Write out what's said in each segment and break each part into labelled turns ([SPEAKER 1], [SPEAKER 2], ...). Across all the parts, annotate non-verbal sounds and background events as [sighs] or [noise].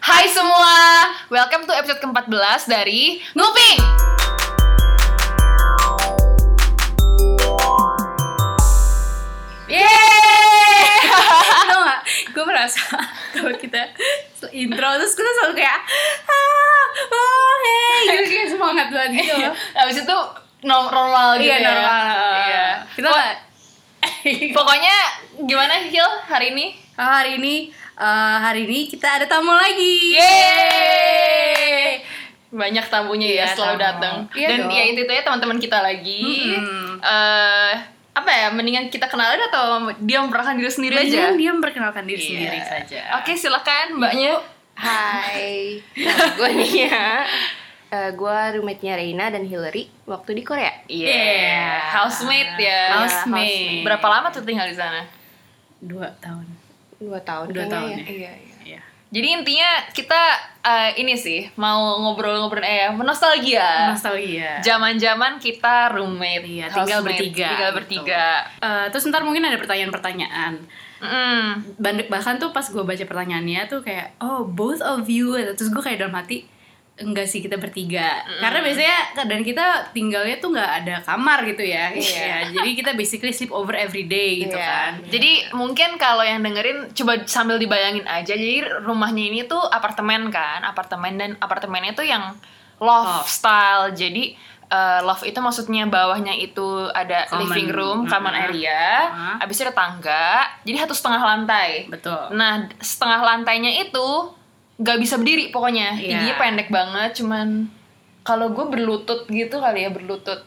[SPEAKER 1] Hai semua, welcome to episode ke-14 dari Nguping Yeay
[SPEAKER 2] [laughs] tau gak? Gue merasa [laughs] kalau kita intro terus kita selalu kayak ah, oh hey gitu kayak semangat banget
[SPEAKER 1] [laughs]
[SPEAKER 2] gitu [laughs] loh.
[SPEAKER 1] Abis itu normal gitu
[SPEAKER 2] Iya
[SPEAKER 1] ya
[SPEAKER 2] normal.
[SPEAKER 1] Iya.
[SPEAKER 2] Kita nggak-
[SPEAKER 1] Pokoknya gimana Hil hari ini?
[SPEAKER 2] Ah, hari ini eh, hari ini kita ada tamu lagi.
[SPEAKER 1] Yeay Banyak tamunya
[SPEAKER 2] Iya,
[SPEAKER 1] ya selalu
[SPEAKER 2] tamu.
[SPEAKER 1] datang
[SPEAKER 2] Iya
[SPEAKER 1] Dan
[SPEAKER 2] dong.
[SPEAKER 1] ya itu ya teman-teman kita lagi
[SPEAKER 2] Mm-mm.
[SPEAKER 1] Eh, Apa ya, mendingan kita kenalan atau dia memperkenalkan diri sendiri aja?
[SPEAKER 2] Mendingan dia memperkenalkan diri
[SPEAKER 1] Iya.
[SPEAKER 2] sendiri saja.
[SPEAKER 1] Oke, silakan mbaknya.
[SPEAKER 3] Hai, nah, gue Nia. Eh, gue roommate-nya Reina dan Hillary waktu di Korea.
[SPEAKER 1] Iya.
[SPEAKER 2] Yeah.
[SPEAKER 1] Housemate ya.
[SPEAKER 2] Housemate.
[SPEAKER 1] Berapa lama tuh tinggal di sana?
[SPEAKER 2] Dua tahun.
[SPEAKER 3] Dua tahun
[SPEAKER 2] Dua
[SPEAKER 3] kayaknya
[SPEAKER 2] tahun
[SPEAKER 3] ya.
[SPEAKER 1] Iya, iya.
[SPEAKER 2] Iya.
[SPEAKER 1] Jadi intinya kita eh, ini sih mau ngobrol-ngobrol eh nostalgia.
[SPEAKER 2] Nostalgia.
[SPEAKER 1] Zaman-zaman kita roommate,
[SPEAKER 2] Iya, tinggal
[SPEAKER 1] housemate,
[SPEAKER 2] bertiga.
[SPEAKER 1] tinggal
[SPEAKER 2] gitu.
[SPEAKER 1] bertiga.
[SPEAKER 2] Eh, terus ntar mungkin ada pertanyaan-pertanyaan.
[SPEAKER 1] Mm.
[SPEAKER 2] Ban- bahkan tuh pas gue baca pertanyaannya tuh kayak oh both of you terus gue kayak dalam hati enggak sih kita bertiga karena biasanya keadaan kita tinggalnya tuh nggak ada kamar gitu ya
[SPEAKER 1] Iya.
[SPEAKER 2] Iya, jadi kita basically sleep over every day gitu
[SPEAKER 1] Iya.
[SPEAKER 2] kan
[SPEAKER 1] Jadi mungkin kalau yang dengerin coba sambil dibayangin aja. Jadi rumahnya ini tuh apartemen kan, apartemen dan apartemennya tuh yang loft style. Jadi eh, loft itu maksudnya bawahnya itu ada
[SPEAKER 2] Common.
[SPEAKER 1] living room, common
[SPEAKER 2] Mhm.
[SPEAKER 1] area,
[SPEAKER 2] Mhm.
[SPEAKER 1] habis itu ada tangga. Jadi satu setengah lantai.
[SPEAKER 2] betul
[SPEAKER 1] Nah setengah lantainya itu nggak bisa berdiri pokoknya.
[SPEAKER 2] Iya.
[SPEAKER 1] Tingginya pendek banget, cuman kalau gue berlutut gitu kali ya berlutut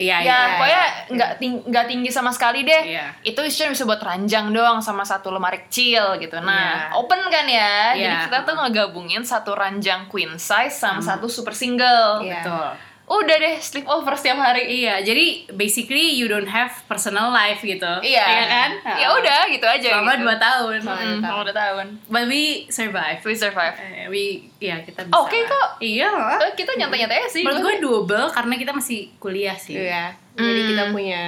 [SPEAKER 2] iya
[SPEAKER 1] ya,
[SPEAKER 2] iya
[SPEAKER 1] pokoknya nggak ting- nggak tinggi sama sekali deh.
[SPEAKER 2] Iya.
[SPEAKER 1] Itu cuma bisa buat ranjang doang sama satu lemari kecil gitu. Nah,
[SPEAKER 2] Iya.
[SPEAKER 1] open kan ya. Jadi
[SPEAKER 2] Iya. Hmm.
[SPEAKER 1] kita tuh ngegabungin satu ranjang queen size sama satu super single.
[SPEAKER 3] Iya.
[SPEAKER 2] betul
[SPEAKER 1] Udah deh sleepover setiap hari.
[SPEAKER 2] iya jadi basically you don't have personal life gitu
[SPEAKER 1] Iya
[SPEAKER 2] kan
[SPEAKER 1] Ya udah gitu aja
[SPEAKER 2] selama
[SPEAKER 1] gitu.
[SPEAKER 2] dua tahun
[SPEAKER 1] Mm, Selama dua tahun.
[SPEAKER 2] but we survive
[SPEAKER 1] We survive.
[SPEAKER 2] Eh, we ya kita bisa
[SPEAKER 1] Oh, Oke kok.
[SPEAKER 2] iya lah
[SPEAKER 1] Eh, kita nyantai-nyantai aja sih.
[SPEAKER 2] Menurut gue double karena kita masih kuliah sih.
[SPEAKER 3] Iya. Jadi kita
[SPEAKER 1] Hmm.
[SPEAKER 3] punya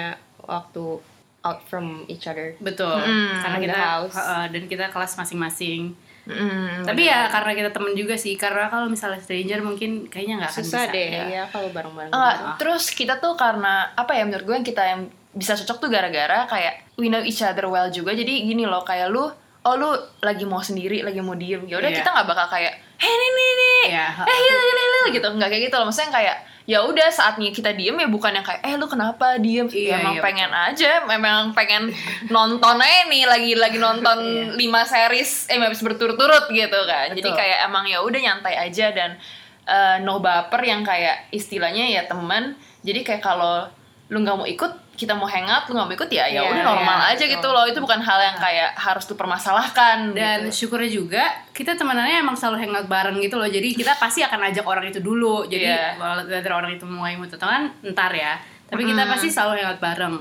[SPEAKER 3] waktu out from each other.
[SPEAKER 2] Betul.
[SPEAKER 1] Mm.
[SPEAKER 2] Karena
[SPEAKER 3] In
[SPEAKER 2] kita
[SPEAKER 3] the house.
[SPEAKER 2] uh, dan kita kelas masing-masing.
[SPEAKER 1] Mm,
[SPEAKER 2] Tapi ya karena kita temen juga sih. Karena kalau misalnya stranger mungkin kayaknya nggak akan
[SPEAKER 3] Susah
[SPEAKER 2] bisa.
[SPEAKER 3] deh,
[SPEAKER 2] Ya.
[SPEAKER 3] ya kalau bareng-bareng.
[SPEAKER 1] Enggak, Eh,
[SPEAKER 2] Ah.
[SPEAKER 1] terus kita tuh karena apa ya menurut gue yang kita yang bisa cocok tuh gara-gara kayak we know each other well juga. Jadi gini loh kayak lu oh lu lagi mau sendiri, lagi mau diem. Ya udah
[SPEAKER 2] Iya.
[SPEAKER 1] kita nggak bakal kayak hei ini ini ini.
[SPEAKER 2] Iya.
[SPEAKER 1] Eh iya iya, iya, iya," gitu. Enggak kayak gitu loh. Maksudnya kayak ya udah saatnya kita diem ya bukan yang kayak eh lu kenapa diem ya,
[SPEAKER 2] Iya,
[SPEAKER 1] emang
[SPEAKER 2] iya,
[SPEAKER 1] pengen aja memang pengen nonton aja nih lagi lagi nonton lima series eh habis berturut-turut gitu kan jadi
[SPEAKER 2] Iya. Betul.
[SPEAKER 1] kayak emang ya udah nyantai aja dan eh, no baper yang kayak istilahnya ya teman jadi kayak kalau lu nggak mau ikut kita mau hangout lu nggak mau ikut ya ya
[SPEAKER 3] Iya,
[SPEAKER 1] udah normal
[SPEAKER 2] iya,
[SPEAKER 1] aja
[SPEAKER 2] betul.
[SPEAKER 1] gitu loh itu bukan hal yang kayak harus dipermasalahkan
[SPEAKER 2] Dan
[SPEAKER 1] gitu.
[SPEAKER 2] syukurnya juga kita temenannya emang selalu hangout bareng gitu loh. Jadi kita pasti akan ajak orang itu dulu. Jadi
[SPEAKER 1] Iya.
[SPEAKER 2] kalau antara orang itu mulai mau tetangan, ntar ya. Tapi kita pasti selalu hangout bareng.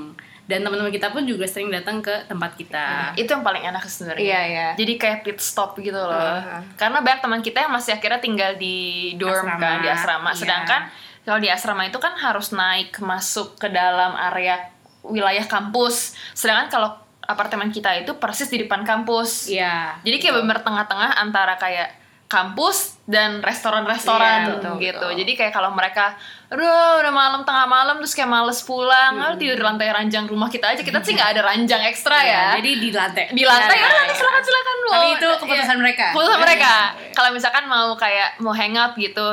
[SPEAKER 2] Dan teman-teman kita pun juga sering datang ke tempat kita.
[SPEAKER 1] itu yang paling enak sebenarnya
[SPEAKER 3] Iya, iya.
[SPEAKER 1] jadi kayak pit stop gitu loh
[SPEAKER 2] Uh-huh.
[SPEAKER 3] Heeh.
[SPEAKER 1] karena banyak teman kita yang masih akhirnya tinggal di dorm
[SPEAKER 2] Asrama.
[SPEAKER 1] kan di asrama
[SPEAKER 2] Iya.
[SPEAKER 1] sedangkan kalau di asrama itu kan harus naik masuk ke dalam area wilayah kampus sedangkan kalau apartemen kita itu persis di depan kampus
[SPEAKER 2] Iya.
[SPEAKER 1] jadi kayak bener tengah-tengah antara kayak kampus dan restoran-restoran
[SPEAKER 2] Iya, betul,
[SPEAKER 1] gitu.
[SPEAKER 2] betul.
[SPEAKER 1] Jadi kayak kalau mereka, aduh udah malam tengah malam terus kayak males pulang, "Ah, tidur
[SPEAKER 2] Hmm.
[SPEAKER 1] di lantai ranjang rumah kita aja. Kita
[SPEAKER 2] [laughs]
[SPEAKER 1] sih nggak ada ranjang ekstra ya
[SPEAKER 2] Iya, Jadi di lantai.
[SPEAKER 1] di lantai ya nanti silakan silakan lu
[SPEAKER 2] Iya, Tapi itu keputusan
[SPEAKER 1] Iya.
[SPEAKER 2] mereka.
[SPEAKER 1] keputusan
[SPEAKER 2] Iya.
[SPEAKER 1] mereka kalau misalkan mau kayak mau hangout gitu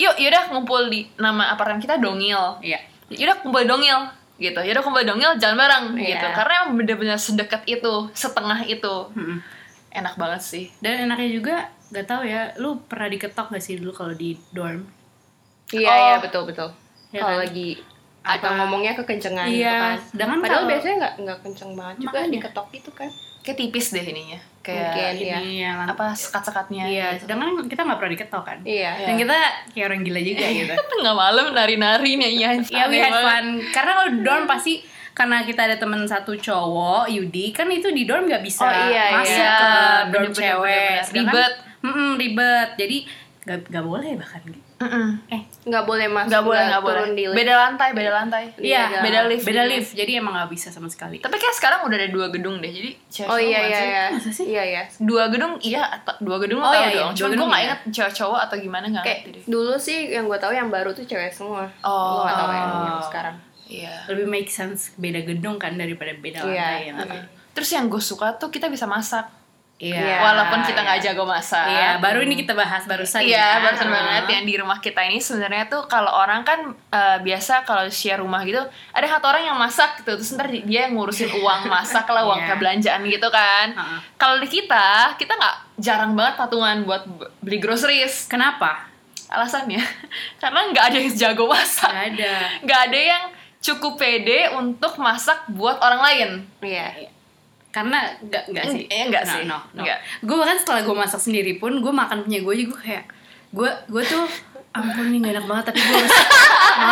[SPEAKER 1] yuk yaudah ngumpul di nama apartemen kita dongil
[SPEAKER 2] Iya.
[SPEAKER 1] yaudah kumpul dongil gitu yaudah kumpul dongil jalan bareng
[SPEAKER 3] Iya.
[SPEAKER 1] gitu karena emang bener-bener sedekat itu setengah itu
[SPEAKER 2] Mm-mm.
[SPEAKER 1] enak banget sih
[SPEAKER 2] Dan enaknya juga gak tahu ya, lu pernah diketok gak sih dulu kalau di dorm?
[SPEAKER 3] Iya,
[SPEAKER 1] Oh.
[SPEAKER 3] iya, betul-betul.
[SPEAKER 2] Iya
[SPEAKER 3] kalau
[SPEAKER 2] kan?
[SPEAKER 3] lagi atau
[SPEAKER 2] Apa?
[SPEAKER 3] ngomongnya kekencengan gitu
[SPEAKER 2] Iya,
[SPEAKER 3] kan.
[SPEAKER 2] sedangkan
[SPEAKER 3] Padahal
[SPEAKER 2] kalau-
[SPEAKER 3] biasanya nggak nggak kenceng banget juga
[SPEAKER 2] Makanya.
[SPEAKER 3] diketok gitu kan.
[SPEAKER 1] kayak tipis deh ininya
[SPEAKER 3] Mungkin.
[SPEAKER 1] kayak
[SPEAKER 3] Iya.
[SPEAKER 2] Ini yang
[SPEAKER 1] apa sekat-sekatnya
[SPEAKER 2] Iya, sedangkan kita gak pernah diketok kan?
[SPEAKER 3] Iya.
[SPEAKER 2] Dan kita kayak orang gila juga
[SPEAKER 1] Iya. [laughs]
[SPEAKER 2] gitu.
[SPEAKER 1] tengah malam nari-nari nih ya
[SPEAKER 2] ya we had fun. Karena kalau di dorm pasti karena kita ada temen satu cowok, Yudi, kan itu di dorm gak bisa
[SPEAKER 1] Oh, iya,
[SPEAKER 2] masuk
[SPEAKER 1] iya.
[SPEAKER 2] ke dorm
[SPEAKER 1] Bener-bener,
[SPEAKER 2] cewek.
[SPEAKER 1] bener-bener.
[SPEAKER 2] Sedangkan-
[SPEAKER 1] Ribet.
[SPEAKER 2] Mm-mm, ribet. Jadi gak, gak boleh bahkan gitu.
[SPEAKER 1] Mm-mm. Eh,
[SPEAKER 3] nggak boleh masuk
[SPEAKER 1] nggak boleh,
[SPEAKER 3] nggak
[SPEAKER 1] nggak boleh.
[SPEAKER 3] turun di lift.
[SPEAKER 1] Beda lantai, beda lantai.
[SPEAKER 3] Iya,
[SPEAKER 2] Iya,
[SPEAKER 1] beda lift.
[SPEAKER 2] Beda lift. Jadi emang nggak bisa sama sekali.
[SPEAKER 1] Tapi kayak sekarang udah ada dua gedung deh, jadi cewek
[SPEAKER 3] oh
[SPEAKER 1] cowok
[SPEAKER 3] iya
[SPEAKER 1] nggak
[SPEAKER 3] iya
[SPEAKER 1] sih?
[SPEAKER 3] iya
[SPEAKER 2] Masa sih?
[SPEAKER 3] iya iya
[SPEAKER 1] Dua gedung iya, atau- dua gedung lo
[SPEAKER 2] Oh,
[SPEAKER 1] tau
[SPEAKER 2] iya, iya.
[SPEAKER 1] dong.
[SPEAKER 2] Dua
[SPEAKER 1] Cuman gue
[SPEAKER 2] gedung
[SPEAKER 1] nggak
[SPEAKER 2] iya.
[SPEAKER 1] inget cowok-cowok atau gimana nggak
[SPEAKER 3] kayak
[SPEAKER 1] ngerti deh.
[SPEAKER 3] dulu sih yang gue tahu yang baru tuh cewek semua
[SPEAKER 1] Oh.
[SPEAKER 3] Lo nggak tahu yang, yang sekarang
[SPEAKER 1] Iya.
[SPEAKER 2] Lebih make sense beda gedung kan daripada beda
[SPEAKER 3] Iya.
[SPEAKER 2] lantai. ya nggak?
[SPEAKER 1] Terus yang gue suka tuh kita bisa masak,
[SPEAKER 2] Iya.
[SPEAKER 3] Iya.
[SPEAKER 1] walaupun kita nggak
[SPEAKER 2] iya.
[SPEAKER 1] jago masak.
[SPEAKER 2] Iya, baru ini kita bahas barusan.
[SPEAKER 1] Iya,
[SPEAKER 2] ya.
[SPEAKER 1] barusan
[SPEAKER 2] Ah.
[SPEAKER 1] banget yang di rumah kita ini sebenarnya tuh kalau orang kan eh, biasa kalau share rumah gitu ada satu orang yang masak gitu terus ntar di- dia yang ngurusin
[SPEAKER 2] [laughs]
[SPEAKER 1] uang masak lah uang
[SPEAKER 2] Iya.
[SPEAKER 1] kebelanjaan gitu kan.
[SPEAKER 2] Ha-ha.
[SPEAKER 1] Kalau di kita kita nggak jarang banget patungan buat b- beli groceries
[SPEAKER 2] Kenapa?
[SPEAKER 1] alasannya [laughs] karena nggak ada yang jago masak,
[SPEAKER 2] Gak ada.
[SPEAKER 1] nggak ada yang cukup pede untuk masak buat orang lain.
[SPEAKER 3] iya
[SPEAKER 2] karena enggak enggak sih
[SPEAKER 1] Eh, enggak sih.
[SPEAKER 2] no, no.
[SPEAKER 1] Enggak.
[SPEAKER 2] gue bahkan setelah gue masak sendiri pun gue makan punya gue aja gue kayak gue gue tuh ampun nih gak enak banget tapi gue harus
[SPEAKER 1] [laughs]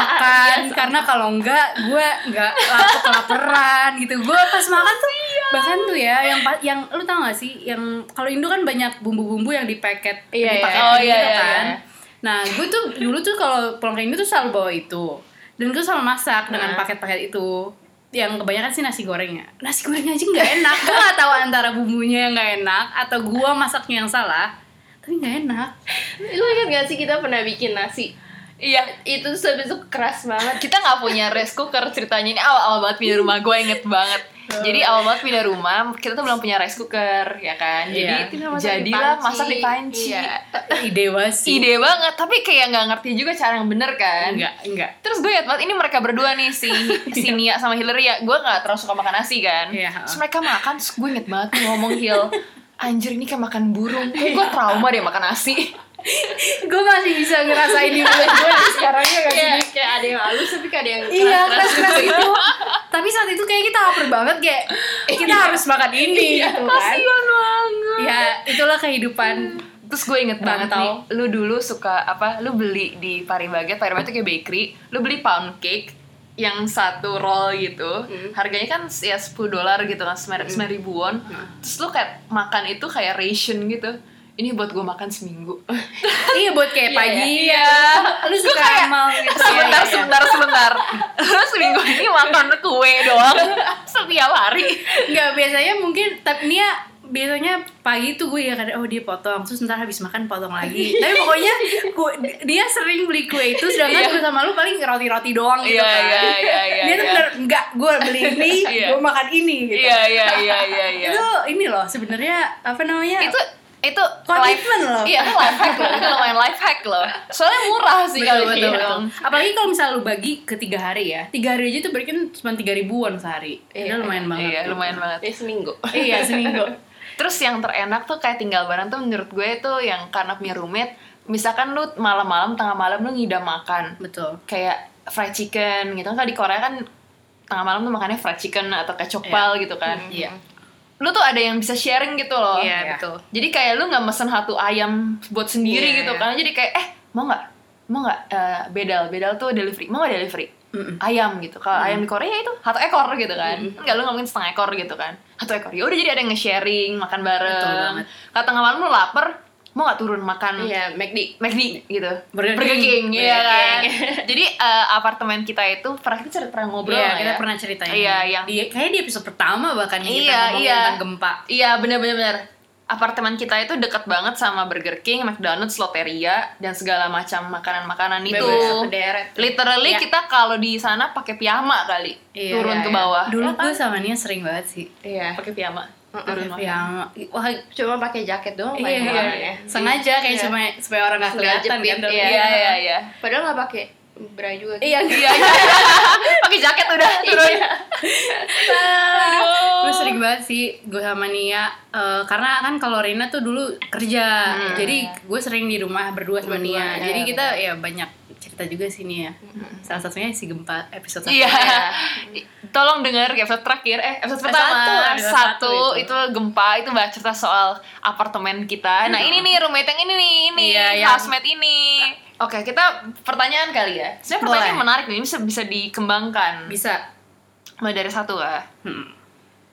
[SPEAKER 2] makan
[SPEAKER 1] Iya,
[SPEAKER 2] karena kalau enggak gue enggak lapar kelaparan gitu gue pas makan tuh
[SPEAKER 1] Iya.
[SPEAKER 2] bahkan tuh ya yang pa- yang lu tau gak sih yang kalau Indo kan banyak bumbu-bumbu yang di paket
[SPEAKER 3] Iya,
[SPEAKER 2] di
[SPEAKER 3] iya.
[SPEAKER 2] paket
[SPEAKER 1] Oh,
[SPEAKER 2] gitu
[SPEAKER 1] iya, iya,
[SPEAKER 2] kan
[SPEAKER 1] iya.
[SPEAKER 2] nah gue tuh dulu tuh kalau pulang ke Indo tuh selalu bawa itu dan gue selalu masak dengan paket-paket itu yang kebanyakan sih nasi gorengnya nasi gorengnya aja nggak enak gue nggak tahu antara bumbunya yang nggak enak atau gue masaknya yang salah tapi nggak enak
[SPEAKER 3] lu ingat gak sih kita pernah bikin nasi
[SPEAKER 1] Iya,
[SPEAKER 3] itu tuh habis itu keras
[SPEAKER 2] [laughs]
[SPEAKER 3] banget
[SPEAKER 1] kita nggak punya rice cooker ceritanya ini awal-awal banget pindah rumah gue inget banget jadi awal banget pindah rumah kita tuh belum punya rice cooker ya kan jadi
[SPEAKER 2] Iya.
[SPEAKER 3] Kita masak di
[SPEAKER 1] jadilah
[SPEAKER 3] panci.
[SPEAKER 1] masak di panci
[SPEAKER 3] Iya.
[SPEAKER 2] ide sih
[SPEAKER 1] ide banget tapi kayak nggak ngerti juga cara yang bener kan
[SPEAKER 2] enggak enggak
[SPEAKER 1] terus gue liat banget ini mereka berdua nih si si Nia sama Hillary ya gue nggak terlalu suka makan nasi kan
[SPEAKER 2] Iya.
[SPEAKER 1] terus mereka makan terus gue inget banget nih ngomong Hill anjir ini kayak makan burung kayak gue trauma deh makan nasi
[SPEAKER 2] gue masih bisa ngerasain di mulut gue sekarang ya nggak sih
[SPEAKER 3] Iya, kayak ada yang halus tapi kayak ada yang keras
[SPEAKER 2] iya keras keras itu tapi saat itu kayak kita lapar banget kayak kita
[SPEAKER 1] Iya.
[SPEAKER 2] harus makan ini gitu kan
[SPEAKER 1] banget
[SPEAKER 2] ya itulah kehidupan
[SPEAKER 1] Iya. Terus gue inget banget
[SPEAKER 2] Rantau.
[SPEAKER 1] nih, lu dulu suka apa? Lu beli di Paribaget, Paribaget tuh kayak bakery, lu beli pound cake yang satu roll gitu, harganya kan ya 10 dolar gitu kan, 9 ribu won. Terus lu kayak makan itu kayak ration gitu. Ini buat gue makan seminggu. [laughs]
[SPEAKER 2] iya buat kayak
[SPEAKER 3] Iya,
[SPEAKER 2] pagi lu
[SPEAKER 1] Gue
[SPEAKER 2] suka
[SPEAKER 1] kayak,
[SPEAKER 2] amal gitu ya,
[SPEAKER 1] [laughs] Sebentar,
[SPEAKER 2] ya, ya.
[SPEAKER 1] sebentar, sebentar. [laughs] Lu seminggu ini makan kue doang [laughs] setiap hari.
[SPEAKER 2] Enggak, biasanya mungkin tapi Nia biasanya pagi tuh gue ya kadang oh dia potong terus ntar habis makan potong lagi tapi pokoknya gue, dia sering beli kue itu sedangkan gue sama lu paling roti roti doang gitu
[SPEAKER 1] Iya,
[SPEAKER 2] kan
[SPEAKER 1] iya, iya, iya,
[SPEAKER 2] dia tuh
[SPEAKER 1] iya.
[SPEAKER 2] bener enggak gue beli ini
[SPEAKER 1] Iya.
[SPEAKER 2] gue makan ini gitu
[SPEAKER 1] Iya, iya, iya, iya, [laughs] iya.
[SPEAKER 2] itu ini loh sebenarnya apa namanya
[SPEAKER 1] itu itu
[SPEAKER 2] Komitmen loh.
[SPEAKER 1] Iya, itu life hack loh. Itu lumayan life hack loh. Soalnya murah sih ya. kalau
[SPEAKER 2] betul,
[SPEAKER 1] gitu.
[SPEAKER 2] betul, betul.
[SPEAKER 1] dihitung.
[SPEAKER 2] apalagi kalau misalnya lu bagi ke tiga hari ya tiga hari aja tuh berarti kan cuma tiga ribuan sehari itu
[SPEAKER 3] Iya,
[SPEAKER 2] lumayan banget
[SPEAKER 1] Iya,
[SPEAKER 2] gitu.
[SPEAKER 1] lumayan banget.
[SPEAKER 3] Dari Eh, seminggu
[SPEAKER 2] iya
[SPEAKER 3] [laughs]
[SPEAKER 2] seminggu
[SPEAKER 1] Terus yang terenak tuh kayak tinggal bareng tuh menurut gue tuh yang karena punya roommate, misalkan lu malam-malam tengah malam lu ngidam makan
[SPEAKER 2] betul
[SPEAKER 1] kayak fried chicken gitu kan Kalau di Korea kan tengah malam tuh makannya fried chicken atau kayak cokbal gitu kan.
[SPEAKER 2] iya
[SPEAKER 1] Lu tuh ada yang bisa sharing gitu loh.
[SPEAKER 2] Iya, betul.
[SPEAKER 1] Jadi kayak lu nggak mesen satu ayam buat sendiri
[SPEAKER 2] Iya,
[SPEAKER 1] gitu
[SPEAKER 2] iya.
[SPEAKER 1] kan. Jadi kayak eh mau nggak mau nggak eh, bedal bedal tuh delivery mau nggak delivery
[SPEAKER 2] Mm-mm.
[SPEAKER 1] ayam gitu kalau ayam di Korea itu satu ekor gitu kan nggak lu nggak mungkin setengah ekor gitu kan satu ekor ya udah jadi ada yang nge-sharing makan
[SPEAKER 2] Betul
[SPEAKER 1] bareng
[SPEAKER 2] banget.
[SPEAKER 1] kalau tengah malam lu lapar mau nggak turun makan
[SPEAKER 3] iya McD
[SPEAKER 1] McD gitu
[SPEAKER 2] Burger
[SPEAKER 1] Burger
[SPEAKER 2] King.
[SPEAKER 1] King, iya
[SPEAKER 2] Burger
[SPEAKER 1] kan
[SPEAKER 2] King.
[SPEAKER 1] jadi eh, apartemen kita itu pernah kita cerita- pernah ngobrol
[SPEAKER 2] Iya,
[SPEAKER 1] nggak
[SPEAKER 2] kita
[SPEAKER 1] ya?
[SPEAKER 2] pernah ceritain.
[SPEAKER 1] Iya, yang-
[SPEAKER 2] Di- kayaknya di episode pertama bahkan yang kita
[SPEAKER 1] Iya,
[SPEAKER 2] ngomongin
[SPEAKER 1] iya.
[SPEAKER 2] tentang gempa.
[SPEAKER 1] Iya benar-benar. Apartemen kita itu dekat banget sama Burger King, McDonald's, Loteria dan segala macam makanan-makanan itu.
[SPEAKER 3] Bebas ke deret.
[SPEAKER 1] Literally
[SPEAKER 2] Iya.
[SPEAKER 1] kita kalau di sana pakai piyama kali,
[SPEAKER 2] Iya,
[SPEAKER 1] turun
[SPEAKER 2] iya,
[SPEAKER 1] ke
[SPEAKER 2] iya.
[SPEAKER 1] bawah.
[SPEAKER 2] Dulu
[SPEAKER 1] Ya kan?
[SPEAKER 2] gue sama Nia sering banget sih.
[SPEAKER 3] iya
[SPEAKER 1] pakai piyama. Turun Oh
[SPEAKER 2] Yang
[SPEAKER 1] makan.
[SPEAKER 2] wah
[SPEAKER 3] cuma pakai jaket doang
[SPEAKER 2] iya,
[SPEAKER 3] paling malam ya.
[SPEAKER 2] sengaja kayak
[SPEAKER 3] Iya.
[SPEAKER 2] cuma supaya orang gak
[SPEAKER 3] Sengaja
[SPEAKER 2] kelihatan
[SPEAKER 3] jepit,
[SPEAKER 2] kan. dalam-
[SPEAKER 1] Iya iya iya.
[SPEAKER 3] padahal nggak pakai bra juga
[SPEAKER 2] Iya,
[SPEAKER 1] [laughs] Iya. iya. pakai jaket udah turun.
[SPEAKER 2] gue Iya. sering banget sih gue sama Nia eh, karena kan kalau Rina tuh dulu kerja
[SPEAKER 1] Hmm.
[SPEAKER 2] jadi gue sering di rumah berdua sama
[SPEAKER 3] Berdua,
[SPEAKER 2] Nia
[SPEAKER 3] iya,
[SPEAKER 2] jadi kita ya banyak cerita juga sih Nia salah satunya si gempa episode satu
[SPEAKER 1] Hmm. Iya. Tolong dengar episode terakhir eh episode pertama
[SPEAKER 2] Satu,
[SPEAKER 1] satu,
[SPEAKER 2] episode satu
[SPEAKER 1] itu. gempa itu bahas cerita soal apartemen kita. Nah, ini nih roommate yang ini nih, ini
[SPEAKER 2] Hmm. Iya, yang-
[SPEAKER 1] housemate ini. Oke, kita pertanyaan kali ya. Sebenarnya pertanyaan
[SPEAKER 2] Boleh.
[SPEAKER 1] yang menarik nih, ini bisa, bisa dikembangkan.
[SPEAKER 2] bisa
[SPEAKER 1] Mulai dari satu lah.
[SPEAKER 2] Hmm.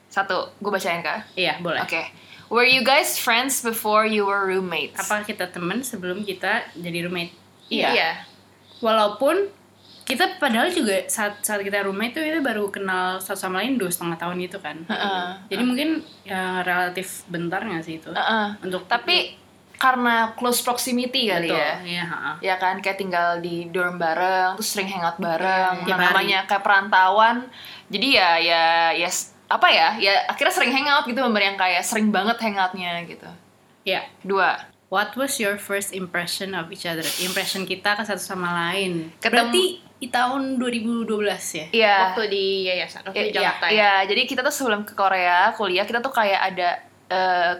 [SPEAKER 1] Satu, gue bacain kah?
[SPEAKER 2] iya boleh
[SPEAKER 1] Oke. Were you guys friends before you were roommates?
[SPEAKER 2] apa kita temen sebelum kita jadi roommate
[SPEAKER 1] Iya.
[SPEAKER 2] walaupun kita padahal juga saat saat kita rumah itu kita baru kenal satu sama lain dua setengah tahun gitu kan
[SPEAKER 1] Heeh.
[SPEAKER 2] jadi mungkin ya, relatif bentar nggak sih itu
[SPEAKER 1] Heeh.
[SPEAKER 2] untuk
[SPEAKER 1] Tapi karena close proximity kali
[SPEAKER 2] betul
[SPEAKER 1] ya.
[SPEAKER 2] iya ha-ha.
[SPEAKER 1] Ya kan kayak tinggal di dorm bareng, terus sering hangout
[SPEAKER 3] Iya,
[SPEAKER 1] bareng, nah,
[SPEAKER 2] Tiap hari.
[SPEAKER 1] namanya kayak perantauan. Jadi ya ya ya s- apa ya? Ya akhirnya sering hangout gitu bener yang kayak sering banget hangoutnya gitu.
[SPEAKER 2] ya
[SPEAKER 1] Dua.
[SPEAKER 2] what was your first impression of each other impression kita ke satu sama lain
[SPEAKER 1] Ketemu-
[SPEAKER 2] berarti di tahun 2012 ya
[SPEAKER 1] Iya.
[SPEAKER 3] Waktu di yayasan, waktu
[SPEAKER 1] Ya,
[SPEAKER 3] di Jakarta ya.
[SPEAKER 1] Iya, jadi kita tuh sebelum ke Korea kuliah kita tuh kayak ada eh,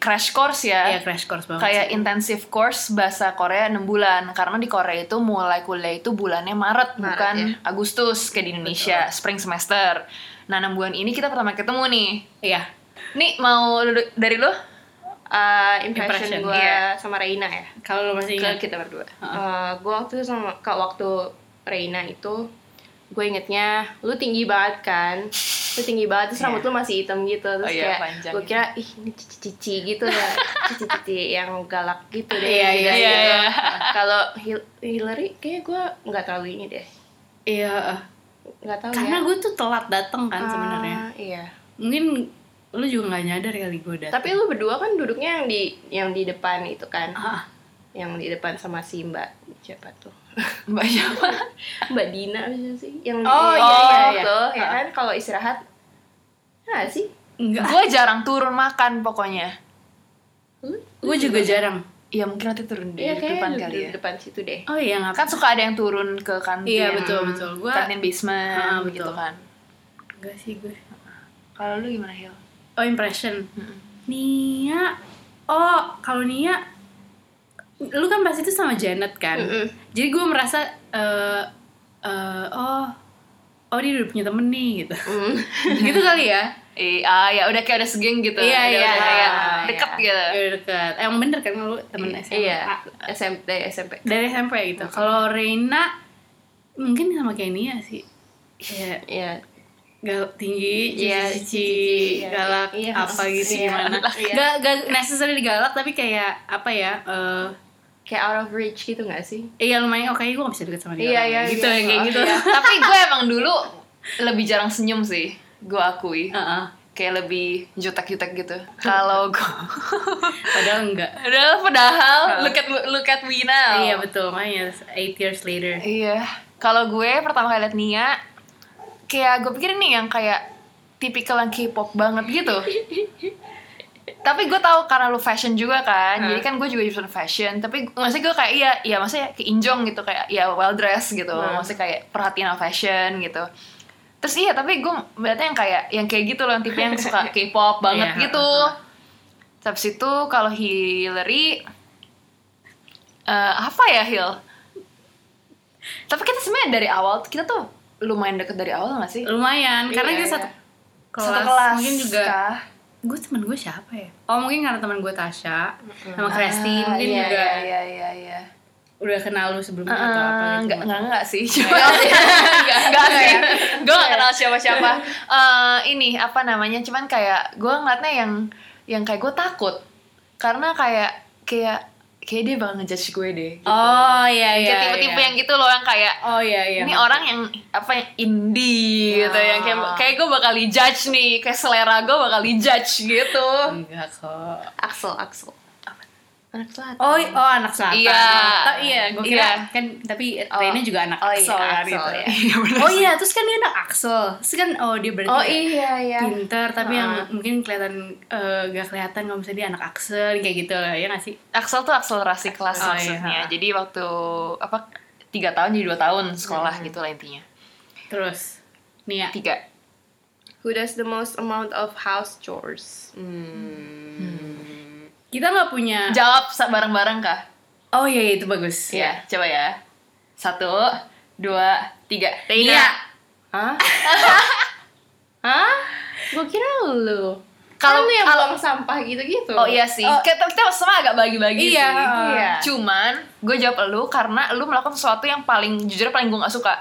[SPEAKER 1] crash course ya.
[SPEAKER 2] Iya crash course banget
[SPEAKER 1] kayak
[SPEAKER 2] sih.
[SPEAKER 1] intensive course bahasa Korea 6 bulan karena di Korea itu mulai kuliah itu bulannya Maret,
[SPEAKER 3] Maret,
[SPEAKER 1] bukan
[SPEAKER 3] ya.
[SPEAKER 1] Agustus kayak di Indonesia spring semester. Nah, 6 bulan ini kita pertama ketemu nih.
[SPEAKER 2] iya
[SPEAKER 1] Nih mau lu- dari lu?
[SPEAKER 3] Eh, impression,
[SPEAKER 2] Impression,
[SPEAKER 3] gue
[SPEAKER 1] iya.
[SPEAKER 3] sama Reina ya.
[SPEAKER 2] kalau lo masih
[SPEAKER 3] Ke
[SPEAKER 2] ingat
[SPEAKER 3] kita berdua. Eh, gue waktu sama kak waktu Reina itu gue ingetnya lu tinggi banget kan lu tinggi banget terus rambut lu masih hitam gitu terus
[SPEAKER 1] Oh iya,
[SPEAKER 3] kayak
[SPEAKER 1] panjang
[SPEAKER 3] gue kira ih ini cici-cici gitu ya cici-cici yang galak gitu deh
[SPEAKER 2] Iya, iya,
[SPEAKER 3] Gitu.
[SPEAKER 1] iya, iya.
[SPEAKER 3] kalau Hil- Hillary kayaknya gue nggak terlalu ini deh
[SPEAKER 2] iya eh.
[SPEAKER 3] nggak
[SPEAKER 1] Oh,
[SPEAKER 3] tahu
[SPEAKER 2] karena
[SPEAKER 3] ya
[SPEAKER 1] iya.
[SPEAKER 2] gue tuh telat dateng kan sebenarnya
[SPEAKER 3] Ah, iya
[SPEAKER 2] mungkin lu juga nggak nyadar kali gue datang
[SPEAKER 3] tapi lu berdua kan duduknya yang di yang di depan itu kan
[SPEAKER 2] ah,
[SPEAKER 3] yang di depan sama si mbak siapa tuh
[SPEAKER 1] Mbak siapa?
[SPEAKER 3] Mbak Dina apa sih yang di-
[SPEAKER 2] Oh, iya, iya, iya.
[SPEAKER 3] tuh ya kan kalau istirahat nah sih
[SPEAKER 2] enggak
[SPEAKER 1] gue jarang turun makan pokoknya.
[SPEAKER 3] Lu-
[SPEAKER 2] gue juga jarang
[SPEAKER 1] Iya, mungkin nanti turun di
[SPEAKER 3] Hmm? Iya kayaknya
[SPEAKER 1] depan
[SPEAKER 3] duduk
[SPEAKER 1] kali
[SPEAKER 3] di
[SPEAKER 1] ya.
[SPEAKER 3] depan situ deh.
[SPEAKER 2] oh iya nggak
[SPEAKER 1] Kan suka ada yang turun ke
[SPEAKER 3] Kan
[SPEAKER 1] kantin.
[SPEAKER 2] Iya, betul, betul. Gua-
[SPEAKER 1] Kantin basement
[SPEAKER 2] Ah, betul.
[SPEAKER 1] gitu kan.
[SPEAKER 2] enggak sih gue
[SPEAKER 1] Kalau lu gimana, Hil?
[SPEAKER 2] oh impression Nia oh kalau Nia lu kan pas itu sama Janet kan
[SPEAKER 3] Mm-mm.
[SPEAKER 2] jadi gue merasa eh eh, oh oh dia udah punya temen nih
[SPEAKER 3] [laughs]
[SPEAKER 2] gitu
[SPEAKER 3] Hmm.
[SPEAKER 2] gitu kali ya
[SPEAKER 1] Eh, ah, ya udah kayak udah segeng gitu.
[SPEAKER 2] Iya,
[SPEAKER 1] Udah-
[SPEAKER 2] iya,
[SPEAKER 1] udah kayak
[SPEAKER 2] iya.
[SPEAKER 1] deket gitu.
[SPEAKER 2] ya udah deket emang bener kan lu temen SMA
[SPEAKER 3] Iya, SMP SMP.
[SPEAKER 2] dari SMP gitu kalau Reina mungkin sama kayak Nia sih ya
[SPEAKER 3] Iya.
[SPEAKER 2] galak tinggi,
[SPEAKER 3] Iya,
[SPEAKER 2] cici,
[SPEAKER 3] iya.
[SPEAKER 2] galak
[SPEAKER 3] Iya,
[SPEAKER 2] apa gitu
[SPEAKER 3] iya.
[SPEAKER 2] gimana?
[SPEAKER 3] Iya.
[SPEAKER 2] Gak gak necessarily galak tapi kayak apa ya? eh,
[SPEAKER 3] Kayak out of reach gitu gak sih?
[SPEAKER 2] iya lumayan oke gue gak bisa deket sama dia.
[SPEAKER 3] Iya,
[SPEAKER 2] orangnya.
[SPEAKER 3] iya,
[SPEAKER 2] gitu
[SPEAKER 3] iya.
[SPEAKER 2] yang kayak gitu.
[SPEAKER 3] Iya.
[SPEAKER 1] tapi gue emang dulu lebih jarang senyum sih gue akui
[SPEAKER 2] Heeh.
[SPEAKER 1] kayak lebih jutek-jutek gitu kalau gue [laughs]
[SPEAKER 2] Padahal enggak.
[SPEAKER 1] padahal padahal look at look at me now
[SPEAKER 2] Iya betul, makanya 8 years later.
[SPEAKER 1] Iya. Kalau gue pertama kali liat Nia, kayak gue pikir nih yang kayak tipikal yang K-pop banget gitu. tapi gue tahu karena lu fashion juga kan, jadi kan gue juga jurusan fashion. Tapi maksudnya gue kayak iya, iya maksudnya keinjong gitu kayak ya well dressed gitu, maksudnya kayak perhatian sama fashion gitu. Terus iya, tapi gue berarti yang kayak yang kayak gitu loh, yang tipe yang suka K-pop banget
[SPEAKER 2] Iya,
[SPEAKER 1] gitu. Terus itu kalau Hillary eh, apa ya Hill? Tapi kita sebenarnya dari awal kita tuh lumayan deket dari awal gak sih?
[SPEAKER 2] Lumayan, karena
[SPEAKER 3] Iya,
[SPEAKER 2] kita
[SPEAKER 3] iya.
[SPEAKER 2] satu kelas,
[SPEAKER 1] Satu kelas
[SPEAKER 2] mungkin juga
[SPEAKER 1] kah?
[SPEAKER 2] gue temen gue siapa ya? Oh mungkin karena teman gue Tasha sama Kresti
[SPEAKER 1] Ah,
[SPEAKER 2] mungkin
[SPEAKER 1] iya,
[SPEAKER 2] juga
[SPEAKER 1] Iya iya iya.
[SPEAKER 2] udah kenal lu sebelumnya atau apa
[SPEAKER 1] Eh,
[SPEAKER 2] gitu.
[SPEAKER 1] Enggak enggak enggak sih. Cuma [laughs] enggak enggak sih. Gue gak kenal siapa-siapa. Eh, ini apa namanya? Cuman kayak gue ngeliatnya yang yang kayak gue takut karena kayak kayak kayak dia bakal ngejudge gue deh. Gitu.
[SPEAKER 2] Oh iya iya.
[SPEAKER 1] kayak tipe-tipe
[SPEAKER 2] iya.
[SPEAKER 1] yang gitu loh yang kayak
[SPEAKER 2] Oh iya iya.
[SPEAKER 1] ini orang yang apa yang indie gitu
[SPEAKER 2] Ah.
[SPEAKER 1] yang kayak kayak gue bakal dijudge nih kayak selera gue bakal dijudge gitu
[SPEAKER 2] enggak kok.
[SPEAKER 3] Axel, Axel. Anak selatan.
[SPEAKER 2] Oh, i- oh anak selatan.
[SPEAKER 1] Iya.
[SPEAKER 2] Ta- iya, gue kira
[SPEAKER 1] Iya.
[SPEAKER 2] kan tapi Rene juga anak
[SPEAKER 3] Oh, iya,
[SPEAKER 2] Axel kan
[SPEAKER 3] Axel,
[SPEAKER 2] gitu.
[SPEAKER 3] iya.
[SPEAKER 1] Iya, bener
[SPEAKER 2] Oh [laughs] iya, terus kan dia anak Axel. Terus kan oh dia berarti
[SPEAKER 3] Oh iya iya.
[SPEAKER 2] pintar tapi yang mungkin kelihatan eh, gak kelihatan kalau misalnya dia anak Axel kayak gitu lah ya gak sih?
[SPEAKER 1] Axel tuh akselerasi kelas
[SPEAKER 2] Oh, iya.
[SPEAKER 1] maksudnya jadi waktu apa tiga tahun jadi dua tahun sekolah gitu lah intinya
[SPEAKER 2] Terus Nia.
[SPEAKER 1] tiga
[SPEAKER 3] Who does the most amount of house chores?
[SPEAKER 2] Kita nggak punya
[SPEAKER 1] jawab sa- bareng-bareng kah
[SPEAKER 2] Oh iya, iya, itu bagus.
[SPEAKER 1] Iya, coba ya satu dua tiga
[SPEAKER 2] Nia.
[SPEAKER 3] Hah? Hah? Gue kira lu.
[SPEAKER 1] Kalau-
[SPEAKER 3] Kalau Kan lu yang
[SPEAKER 1] kalau-
[SPEAKER 3] buang sampah gitu-gitu.
[SPEAKER 1] Oh iya sih,
[SPEAKER 2] Oh.
[SPEAKER 1] kita, kita sama agak bagi-bagi
[SPEAKER 2] Iya,
[SPEAKER 1] sih.
[SPEAKER 3] iya.
[SPEAKER 1] Cuman gue jawab lu karena lu melakukan sesuatu yang paling jujur paling gue gak suka